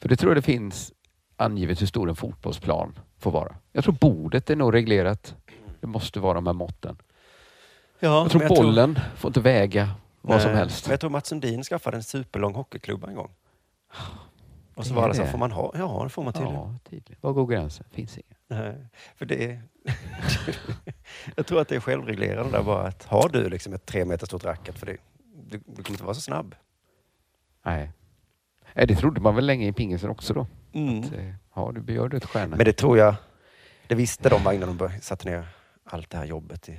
[SPEAKER 9] För det tror jag det finns angivet hur stor en fotbollsplan får vara. Jag tror bordet är nog reglerat. Det måste vara de här måtten.
[SPEAKER 8] Ja,
[SPEAKER 9] jag tror
[SPEAKER 8] men jag tror-
[SPEAKER 9] bollen får inte väga vad som
[SPEAKER 8] Nej,
[SPEAKER 9] helst.
[SPEAKER 8] Men jag tror Mats Sundin skaffade en superlång hockeyklubba en gång. Och så
[SPEAKER 9] Det
[SPEAKER 8] var
[SPEAKER 9] är
[SPEAKER 8] det så,
[SPEAKER 9] det.
[SPEAKER 8] får man ha? Ja, det får man tydligen.
[SPEAKER 9] Ja, tydligen. Var går gränsen? Finns inga.
[SPEAKER 8] Nej, för det är... jag tror att det är självreglerande där bara. Att har du liksom ett tre meter stort racket, för det, du, du kommer inte vara så snabb.
[SPEAKER 9] Nej. Nej, det trodde man väl länge i pingisen också då.
[SPEAKER 8] Mm.
[SPEAKER 9] Att, eh, ja, du gör du ett stjärna.
[SPEAKER 8] Men det tror jag, det visste de va, innan de bör- satte ner allt det här jobbet i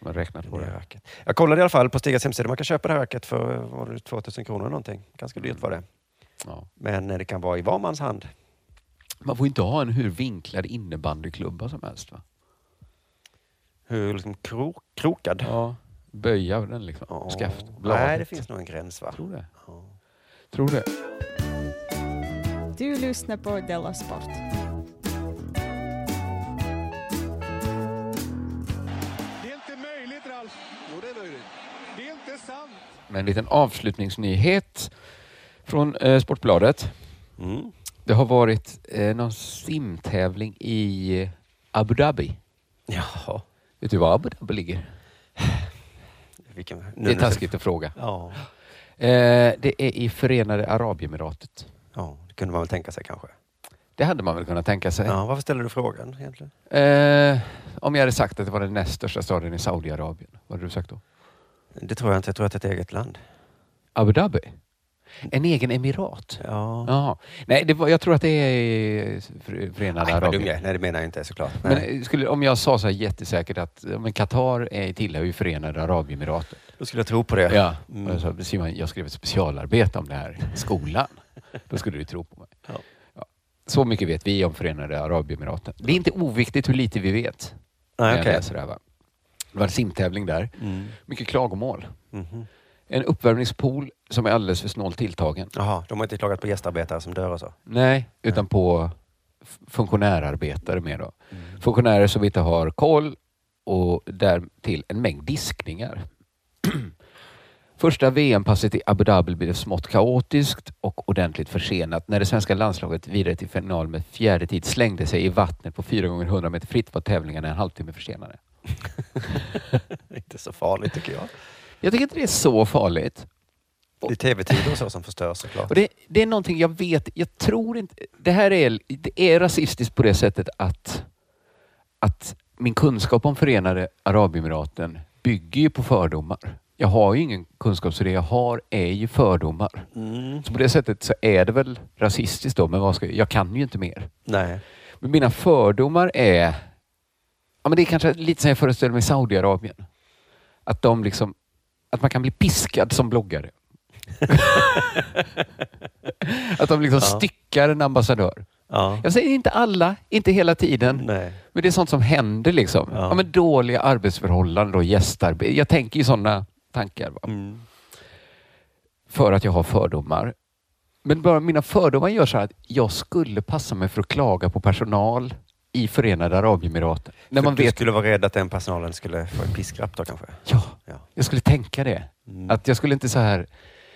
[SPEAKER 9] Man räknat på
[SPEAKER 8] det
[SPEAKER 9] det.
[SPEAKER 8] nya racket. Jag kollade i alla fall på Stigas hemsida. Man kan köpa det här racket för vad var det, 2000 kronor eller någonting. Ganska dyrt var det.
[SPEAKER 9] Ja.
[SPEAKER 8] Men eh, det kan vara i var mans hand.
[SPEAKER 9] Man får inte ha en hur vinklad innebandyklubba som helst va?
[SPEAKER 8] Hur liksom kro, krokad.
[SPEAKER 9] Ja, böja den liksom. Skaft, bladet.
[SPEAKER 8] Nej, det finns nog en gräns va?
[SPEAKER 9] Tror det.
[SPEAKER 8] Ja.
[SPEAKER 9] Tror det.
[SPEAKER 5] Du lyssnar på Della Sport.
[SPEAKER 13] Det är inte möjligt, Ralf. Jo, det är möjligt. Det är inte sant.
[SPEAKER 9] Med en liten avslutningsnyhet från eh, Sportbladet. Det har varit eh, någon simtävling i Abu Dhabi.
[SPEAKER 8] Jaha.
[SPEAKER 9] Vet du var Abu Dhabi ligger?
[SPEAKER 8] Vilken,
[SPEAKER 9] det är taskigt att fråga.
[SPEAKER 8] Ja.
[SPEAKER 9] Eh, det är i Förenade Arabemiratet.
[SPEAKER 8] ja, det kunde man väl tänka sig kanske.
[SPEAKER 9] Det hade man väl kunnat tänka sig.
[SPEAKER 8] Ja, varför ställer du frågan egentligen?
[SPEAKER 9] Eh, om jag hade sagt att det var den näst största staden i Saudiarabien, vad hade du sagt då?
[SPEAKER 8] Det tror jag inte. Jag tror att det är ett eget land.
[SPEAKER 9] Abu Dhabi? En egen emirat?
[SPEAKER 8] Ja.
[SPEAKER 9] Jaha. Nej, det var, jag tror att det är Fre- Förenade
[SPEAKER 8] Nej, vad dum
[SPEAKER 9] Arabien.
[SPEAKER 8] jag är. Nej, det menar jag inte såklart. Nej.
[SPEAKER 9] Men eh, skulle, om jag sa så här jättesäkert att ja, men Qatar är, tillhör ju Förenade Arabemiraten.
[SPEAKER 8] Då skulle jag tro på det.
[SPEAKER 9] Ja.
[SPEAKER 8] Mm.
[SPEAKER 9] Och jag sa, Simon, jag skrev ett specialarbete om det här i skolan. Då skulle du tro på mig.
[SPEAKER 8] Ja.
[SPEAKER 9] Ja. Så mycket vet vi om Förenade Arabemiraten. Det är inte oviktigt hur lite vi vet. när jag
[SPEAKER 8] okej.
[SPEAKER 9] läser det, här, va? det var en simtävling där.
[SPEAKER 8] Mm.
[SPEAKER 9] Mycket klagomål.
[SPEAKER 8] Mhm.
[SPEAKER 9] En uppvärmningspool som är alldeles för snålt tilltagen.
[SPEAKER 8] Jaha, de har inte klagat på gästarbetare som dör och så?
[SPEAKER 9] Nej, utan på f- funktionärarbetare mer då. Funktionärer som inte har koll och därtill en mängd diskningar. Första VM-passet i Abu Dhabi blev smått kaotiskt och ordentligt försenat när det svenska landslaget vidare till final med fjärde tid slängde sig i vattnet på 4 gånger 100 meter fritt var tävlingarna en halvtimme försenade.
[SPEAKER 8] inte så farligt tycker jag.
[SPEAKER 9] Jag tycker inte det är så farligt.
[SPEAKER 8] Det är tv-tider och så som förstörs såklart.
[SPEAKER 9] Och det, det är någonting jag vet, jag tror inte... Det här är, det är rasistiskt på det sättet att, att min kunskap om Förenade Arabemiraten bygger ju på fördomar. Jag har ju ingen kunskap så det jag har är ju fördomar.
[SPEAKER 8] Mm.
[SPEAKER 9] Så på det sättet så är det väl rasistiskt då, men vad ska jag, jag kan ju inte mer.
[SPEAKER 8] Nej.
[SPEAKER 9] Men mina fördomar är... Ja, men det är kanske lite som jag föreställer mig i Saudiarabien. Att de liksom... Att man kan bli piskad som bloggare. att de liksom
[SPEAKER 8] Ja.
[SPEAKER 9] styckar en ambassadör.
[SPEAKER 8] Ja.
[SPEAKER 9] Jag säger inte alla, inte hela tiden.
[SPEAKER 8] Nej.
[SPEAKER 9] Men det är sånt som händer liksom. Ja.
[SPEAKER 8] Ja.
[SPEAKER 9] men dåliga arbetsförhållanden och gästarbete. Jag tänker ju sådana tankar. Va?
[SPEAKER 8] Mm.
[SPEAKER 9] För att jag har fördomar. Men bara mina fördomar gör så här att jag skulle passa mig för att klaga på personal i Förenade Arabemiraten. När
[SPEAKER 8] För
[SPEAKER 9] man
[SPEAKER 8] du
[SPEAKER 9] vet...
[SPEAKER 8] skulle vara rädd att den personalen skulle få en piskrapp då kanske?
[SPEAKER 9] Ja,
[SPEAKER 8] Ja.
[SPEAKER 9] jag skulle tänka det.
[SPEAKER 8] Mm.
[SPEAKER 9] Att jag skulle inte så här...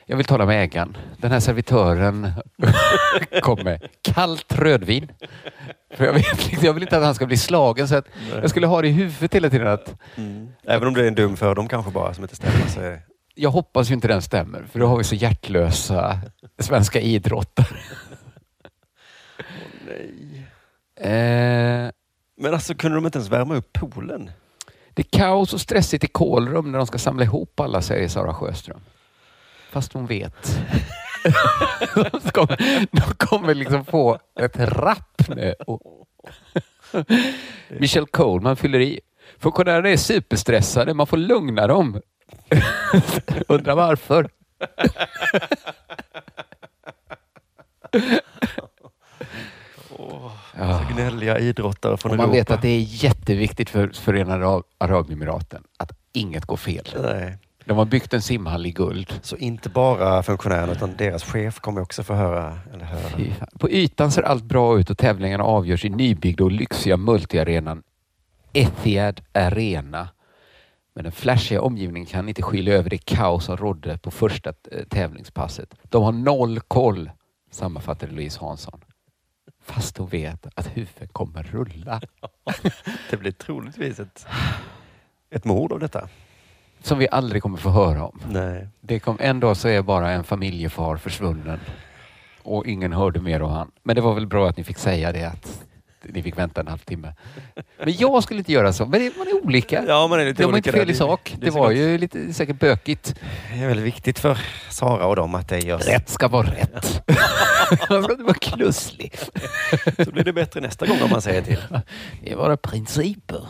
[SPEAKER 9] Jag vill tala med ägaren. Den här servitören kom med kallt rödvin. För jag, vet, inte- jag vill inte att han ska bli slagen. Så att jag skulle ha det i huvudet hela tiden att
[SPEAKER 8] Mm. Även om det är en dum fördom kanske bara som inte stämmer så är det...
[SPEAKER 9] jag hoppas ju inte den stämmer, för då har vi så hjärtlösa svenska idrottare. Eh,
[SPEAKER 8] Men alltså kunde de inte ens värma upp poolen?
[SPEAKER 9] det är kaos och stressigt i Kolrum när de ska samla ihop alla, säger Sara Sjöström. Fast hon vet. de, kommer, de kommer liksom få ett rapp nu. Och Michelle Coleman fyller i. Funktionärerna är superstressade. Man får lugna dem. Undrar varför.
[SPEAKER 8] Så gnälliga idrottare från
[SPEAKER 9] Och man vet
[SPEAKER 8] Europa.
[SPEAKER 9] att det är jätteviktigt för Förenade Ara- Arabemiraten att inget går fel.
[SPEAKER 8] Nej.
[SPEAKER 9] De har byggt en simhall i guld.
[SPEAKER 8] Så inte bara funktionärerna utan deras chef kommer också få höra, eller höra.
[SPEAKER 9] Fy fan. På ytan ser allt bra ut och tävlingarna avgörs i nybyggda och lyxiga multiarenan Etihad Arena. Men den flashiga omgivningen kan inte skilja över det kaos som rådde på första eh, tävlingspasset. De har noll koll, sammanfattade Louise Hansson. Fast hon vet att huvudet kommer rulla.
[SPEAKER 8] Det blir troligtvis ett, ett mord av detta.
[SPEAKER 9] Som vi aldrig kommer få höra om.
[SPEAKER 8] Nej.
[SPEAKER 9] Det kom en dag så är bara en familjefar försvunnen och ingen hörde mer om han. Men det var väl bra att ni fick säga det att ni fick vänta en halvtimme. Men jag skulle inte göra så. Men det, man är olika.
[SPEAKER 8] Ja, man är lite
[SPEAKER 9] De var
[SPEAKER 8] olika
[SPEAKER 9] inte fel
[SPEAKER 8] där.
[SPEAKER 9] i sak.
[SPEAKER 8] Det
[SPEAKER 9] Det
[SPEAKER 8] är så
[SPEAKER 9] var
[SPEAKER 8] gott.
[SPEAKER 9] ju lite säkert bökigt.
[SPEAKER 8] Det är väldigt viktigt för Sara och dem att det görs.
[SPEAKER 9] Rätt ska vara rätt. det var knusslig.
[SPEAKER 8] Så blir det bättre nästa gång om man säger till.
[SPEAKER 9] Det är bara principer.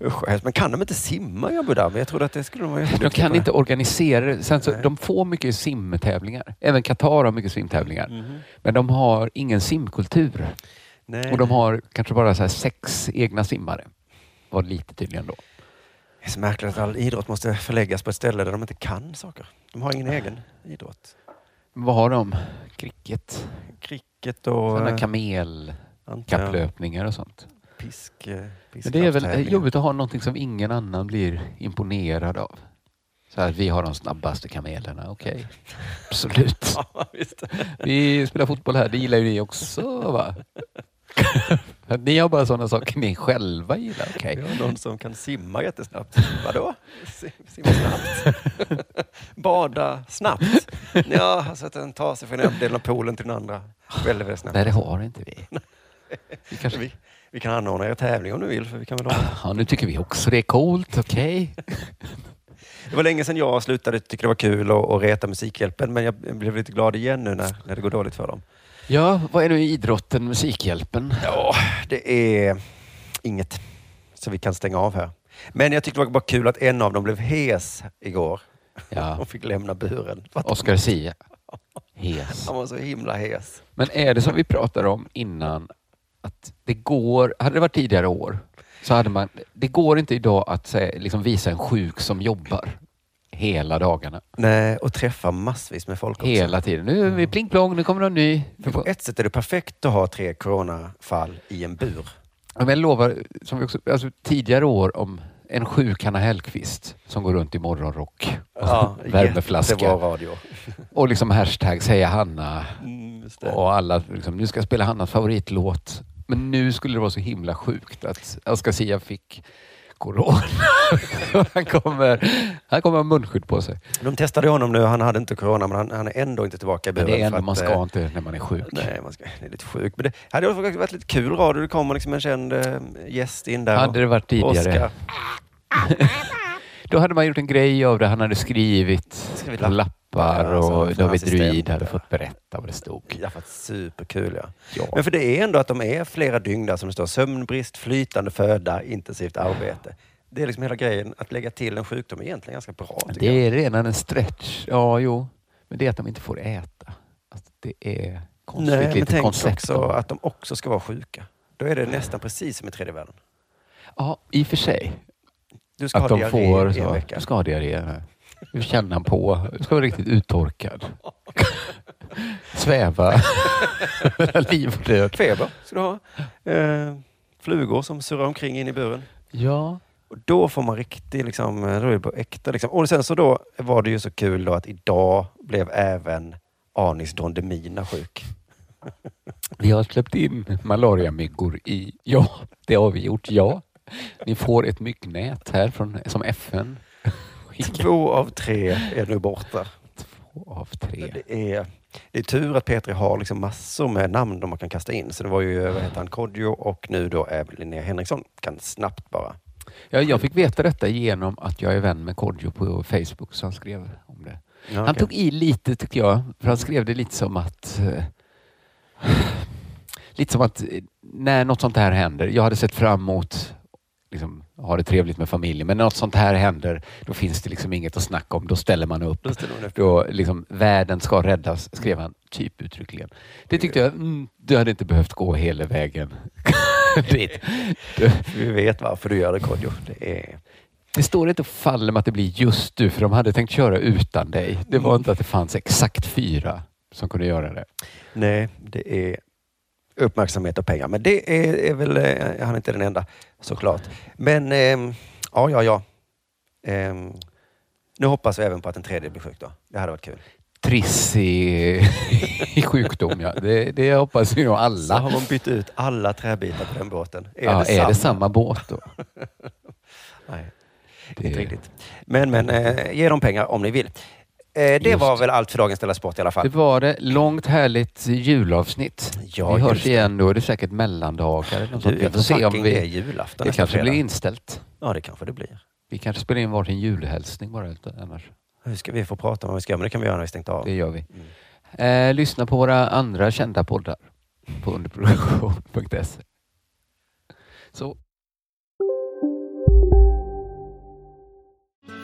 [SPEAKER 8] Usch, hemskt. men kan de inte simma i Abu Dhabi? Jag trodde att det skulle de vara
[SPEAKER 9] De
[SPEAKER 8] jätteduktiga
[SPEAKER 9] kan
[SPEAKER 8] på.
[SPEAKER 9] inte organisera det. Sen så,
[SPEAKER 8] Nej.
[SPEAKER 9] de får mycket simtävlingar. Även Qatar har mycket simtävlingar.
[SPEAKER 8] Mm.
[SPEAKER 9] Men de har ingen simkultur.
[SPEAKER 8] Mm-hmm. Nej.
[SPEAKER 9] Och de har kanske bara så här sex egna simmare. Var lite tydligen då.
[SPEAKER 8] Det är så märkligt att all idrott måste förläggas på ett ställe där de inte kan saker. De har ingen egen idrott.
[SPEAKER 9] Men Vad har de? Cricket?
[SPEAKER 8] Cricket och
[SPEAKER 9] Sådana
[SPEAKER 8] eh,
[SPEAKER 9] kamelkapplöpningar
[SPEAKER 8] antar jag,
[SPEAKER 9] och sånt.
[SPEAKER 8] pisk, eh,
[SPEAKER 9] Men det är väl eh,
[SPEAKER 8] piskraftstävlingar.
[SPEAKER 9] jobbigt att ha någonting som ingen annan blir imponerad av. Så här, vi har de snabbaste kamelerna. Okej. Absolut.
[SPEAKER 8] Ja, visst.
[SPEAKER 9] Vi spelar fotboll här. Det gillar ju ni också va? ni har bara sådana saker ni själva gillar. Okej.
[SPEAKER 8] Vi har någon som kan simma jättesnabbt. Vadå? Sim, simma snabbt? Bada snabbt? Ja, alltså att den tar sig från ena delen av poolen till den andra väldigt, väldigt snabbt.
[SPEAKER 9] Nej, det har inte vi.
[SPEAKER 8] Vi, vi, vi kan anordna er tävling om du vill. För vi kan väl ha-
[SPEAKER 9] Ja, nu tycker vi också det är coolt. Okej.
[SPEAKER 8] det var länge sedan jag slutade tycka det var kul att att reta Musikhjälpen, men jag blev lite glad igen nu när, när det går dåligt för dem.
[SPEAKER 9] Ja, vad är nu idrotten, Musikhjälpen?
[SPEAKER 8] Ja, det är inget så vi kan stänga av här. Men jag tyckte det var bara kul att en av dem blev hes igår.
[SPEAKER 9] Ja.
[SPEAKER 8] Hon fick lämna buren. Fattar du?
[SPEAKER 9] Oscar Sia. Hes.
[SPEAKER 8] Han var så himla hes.
[SPEAKER 9] Men är det som vi pratade om innan, att det går, hade det varit tidigare år, så hade man, det går inte idag att säga, liksom visa en sjuk som jobbar hela dagarna,
[SPEAKER 8] Nej, och träffa massvis med folk också.
[SPEAKER 9] hela tiden. Nu är vi pling plong, nu kommer någon ny.
[SPEAKER 8] För på ett sätt är det perfekt att ha tre coronafall i en bur.
[SPEAKER 9] Ja, men jag lovar, som vi också, alltså, tidigare år om en sjuk Hanna Hellquist som går runt i morgonrock och
[SPEAKER 8] jättebra
[SPEAKER 9] värmeflaska
[SPEAKER 8] radio.
[SPEAKER 9] och liksom hashtag säga Hanna
[SPEAKER 8] Mm, just det.
[SPEAKER 9] och alla liksom, nu ska jag spela Hannas favoritlåt. Men nu skulle det vara så himla sjukt att Oscar Sia fick corona. han, kommer, han kommer ha munskydd på sig.
[SPEAKER 8] De testade honom nu. Han hade inte corona, men han, han är ändå inte tillbaka i
[SPEAKER 9] Men det är
[SPEAKER 8] buren. för
[SPEAKER 9] ändå
[SPEAKER 8] att,
[SPEAKER 9] man ska
[SPEAKER 8] eh,
[SPEAKER 9] inte när man är sjuk.
[SPEAKER 8] Nej, man ska, det är lite sjukt. Men det hade också varit lite kul radio. Det kommer liksom en känd eh, gäst in där.
[SPEAKER 9] Hade det varit tidigare.
[SPEAKER 8] Oscar.
[SPEAKER 9] Då hade man gjort en grej av det. Han hade skrivit
[SPEAKER 8] Skrivit
[SPEAKER 9] på lappar
[SPEAKER 8] Ja, som
[SPEAKER 9] och
[SPEAKER 8] en
[SPEAKER 9] David
[SPEAKER 8] assistent
[SPEAKER 9] Druid hade
[SPEAKER 8] där.
[SPEAKER 9] fått berätta vad det stod.
[SPEAKER 8] Det hade varit superkul. Ja.
[SPEAKER 9] Ja.
[SPEAKER 8] Men för det är ändå att de är flera dygn där som det står sömnbrist, flytande föda, intensivt arbete. Det är liksom hela grejen. Att lägga till en sjukdom är egentligen ganska bra. tycker
[SPEAKER 9] Det är redan en stretch. Ja, jo. Men det är att de inte får äta. Alltså, det är konstigt
[SPEAKER 8] Nej, men
[SPEAKER 9] litet
[SPEAKER 8] tänk
[SPEAKER 9] koncept.
[SPEAKER 8] också att de också ska vara sjuka. Då är det nästan precis som i tredje världen.
[SPEAKER 9] Ja, i och för sig.
[SPEAKER 8] Du ska
[SPEAKER 9] Att
[SPEAKER 8] ha
[SPEAKER 9] de
[SPEAKER 8] diarré
[SPEAKER 9] får
[SPEAKER 8] i en
[SPEAKER 9] så.
[SPEAKER 8] vecka.
[SPEAKER 9] Du ska ha diarré. nej. Du känner han på. Du ska vara riktigt uttorkad. Sväva. mellan Liv och död.
[SPEAKER 8] Feber ska du ha. Eh, flugor som surrar omkring in i buren.
[SPEAKER 9] Ja.
[SPEAKER 8] Och då får man riktigt, liksom, då är det på äkta. Liksom. Och sen så då var det ju så kul då att idag blev även Anis Don Demina sjuk.
[SPEAKER 9] Vi har släppt in malariamyggor i... Ja, det har vi gjort. Ja. Ni får ett myggnät här från, som FN. Skickar
[SPEAKER 8] Två av tre är nu borta.
[SPEAKER 9] av tre.
[SPEAKER 8] Det är, det är tur att P3 har liksom massor med namn de man kan kasta in. Så det var ju, vad heter han, Kodjo och nu då är Linnea Henriksson. Kan snabbt bara.
[SPEAKER 9] Ja, jag fick veta detta genom att jag är vän med Kodjo på Facebook, så han skrev om det.
[SPEAKER 8] Ja,
[SPEAKER 9] Han
[SPEAKER 8] okej.
[SPEAKER 9] tog i lite, tycker jag, för han skrev det lite som att... Eh, lite som att eh, när något sånt här händer, jag hade sett fram emot liksom, ha det trevligt med familjen, men när något sånt här händer, då finns det liksom inget att snacka om. Då ställer man upp.
[SPEAKER 8] Då ställer hon upp.
[SPEAKER 9] Då liksom, världen ska räddas, skrev han typ uttryckligen. Det tyckte jag, mm, du hade inte behövt gå hela vägen dit.
[SPEAKER 8] Vi vet varför du gör det Kodjo. Det är...
[SPEAKER 9] Det står inte och faller med att det blir just du, för de hade tänkt köra utan dig. Det
[SPEAKER 8] Mm.
[SPEAKER 9] var inte att det fanns exakt fyra som kunde göra det.
[SPEAKER 8] Nej, det är uppmärksamhet och pengar. Men det är, är väl, eh, han är inte den enda såklart. Men ehm, ja, ja, ja. Ehm, nu hoppas vi även på att en tredje blir sjuk då. Det hade varit kul.
[SPEAKER 9] Triss i, i sjukdom, ja. Det, det hoppas vi nog
[SPEAKER 8] Så har
[SPEAKER 9] alla.
[SPEAKER 8] man bytt ut alla träbitar på den båten. Är,
[SPEAKER 9] ja,
[SPEAKER 8] det,
[SPEAKER 9] är
[SPEAKER 8] samma?
[SPEAKER 9] det samma båt då?
[SPEAKER 8] Nej,
[SPEAKER 9] Det-
[SPEAKER 8] inte riktigt. Men, men eh, ge dem pengar om ni vill. Eh, det
[SPEAKER 9] Just
[SPEAKER 8] var
[SPEAKER 9] det.
[SPEAKER 8] väl allt för dagens Della Sport i alla fall.
[SPEAKER 9] Det var det. Långt härligt julavsnitt.
[SPEAKER 8] Ja,
[SPEAKER 9] vi
[SPEAKER 8] just
[SPEAKER 9] hörs
[SPEAKER 8] det.
[SPEAKER 9] igen då. Det är säkert mellandagar eller något
[SPEAKER 8] Du,
[SPEAKER 9] sånt. Vi
[SPEAKER 8] jag
[SPEAKER 9] får se om
[SPEAKER 8] det är
[SPEAKER 9] vi... Det
[SPEAKER 8] julafton nästa
[SPEAKER 9] kanske
[SPEAKER 8] fredag.
[SPEAKER 9] blir inställt.
[SPEAKER 8] Ja, det kanske det blir.
[SPEAKER 9] Vi kanske spelar in varsin julhälsning bara utan- annars.
[SPEAKER 8] Hur ska vi få prata om vad vi ska göra? Men det kan vi göra när vi stängt av.
[SPEAKER 9] Det gör vi.
[SPEAKER 8] Mm.
[SPEAKER 9] Eh, lyssna på våra andra kända poddar på underproduktion.se. Så.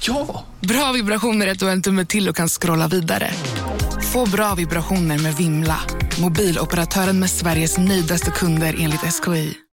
[SPEAKER 7] Ja! Bra vibrationer är att du har en tumme till och kan scrolla vidare. Få bra vibrationer med Vimla. Mobiloperatören med Sveriges nöjdaste kunder enligt SKI.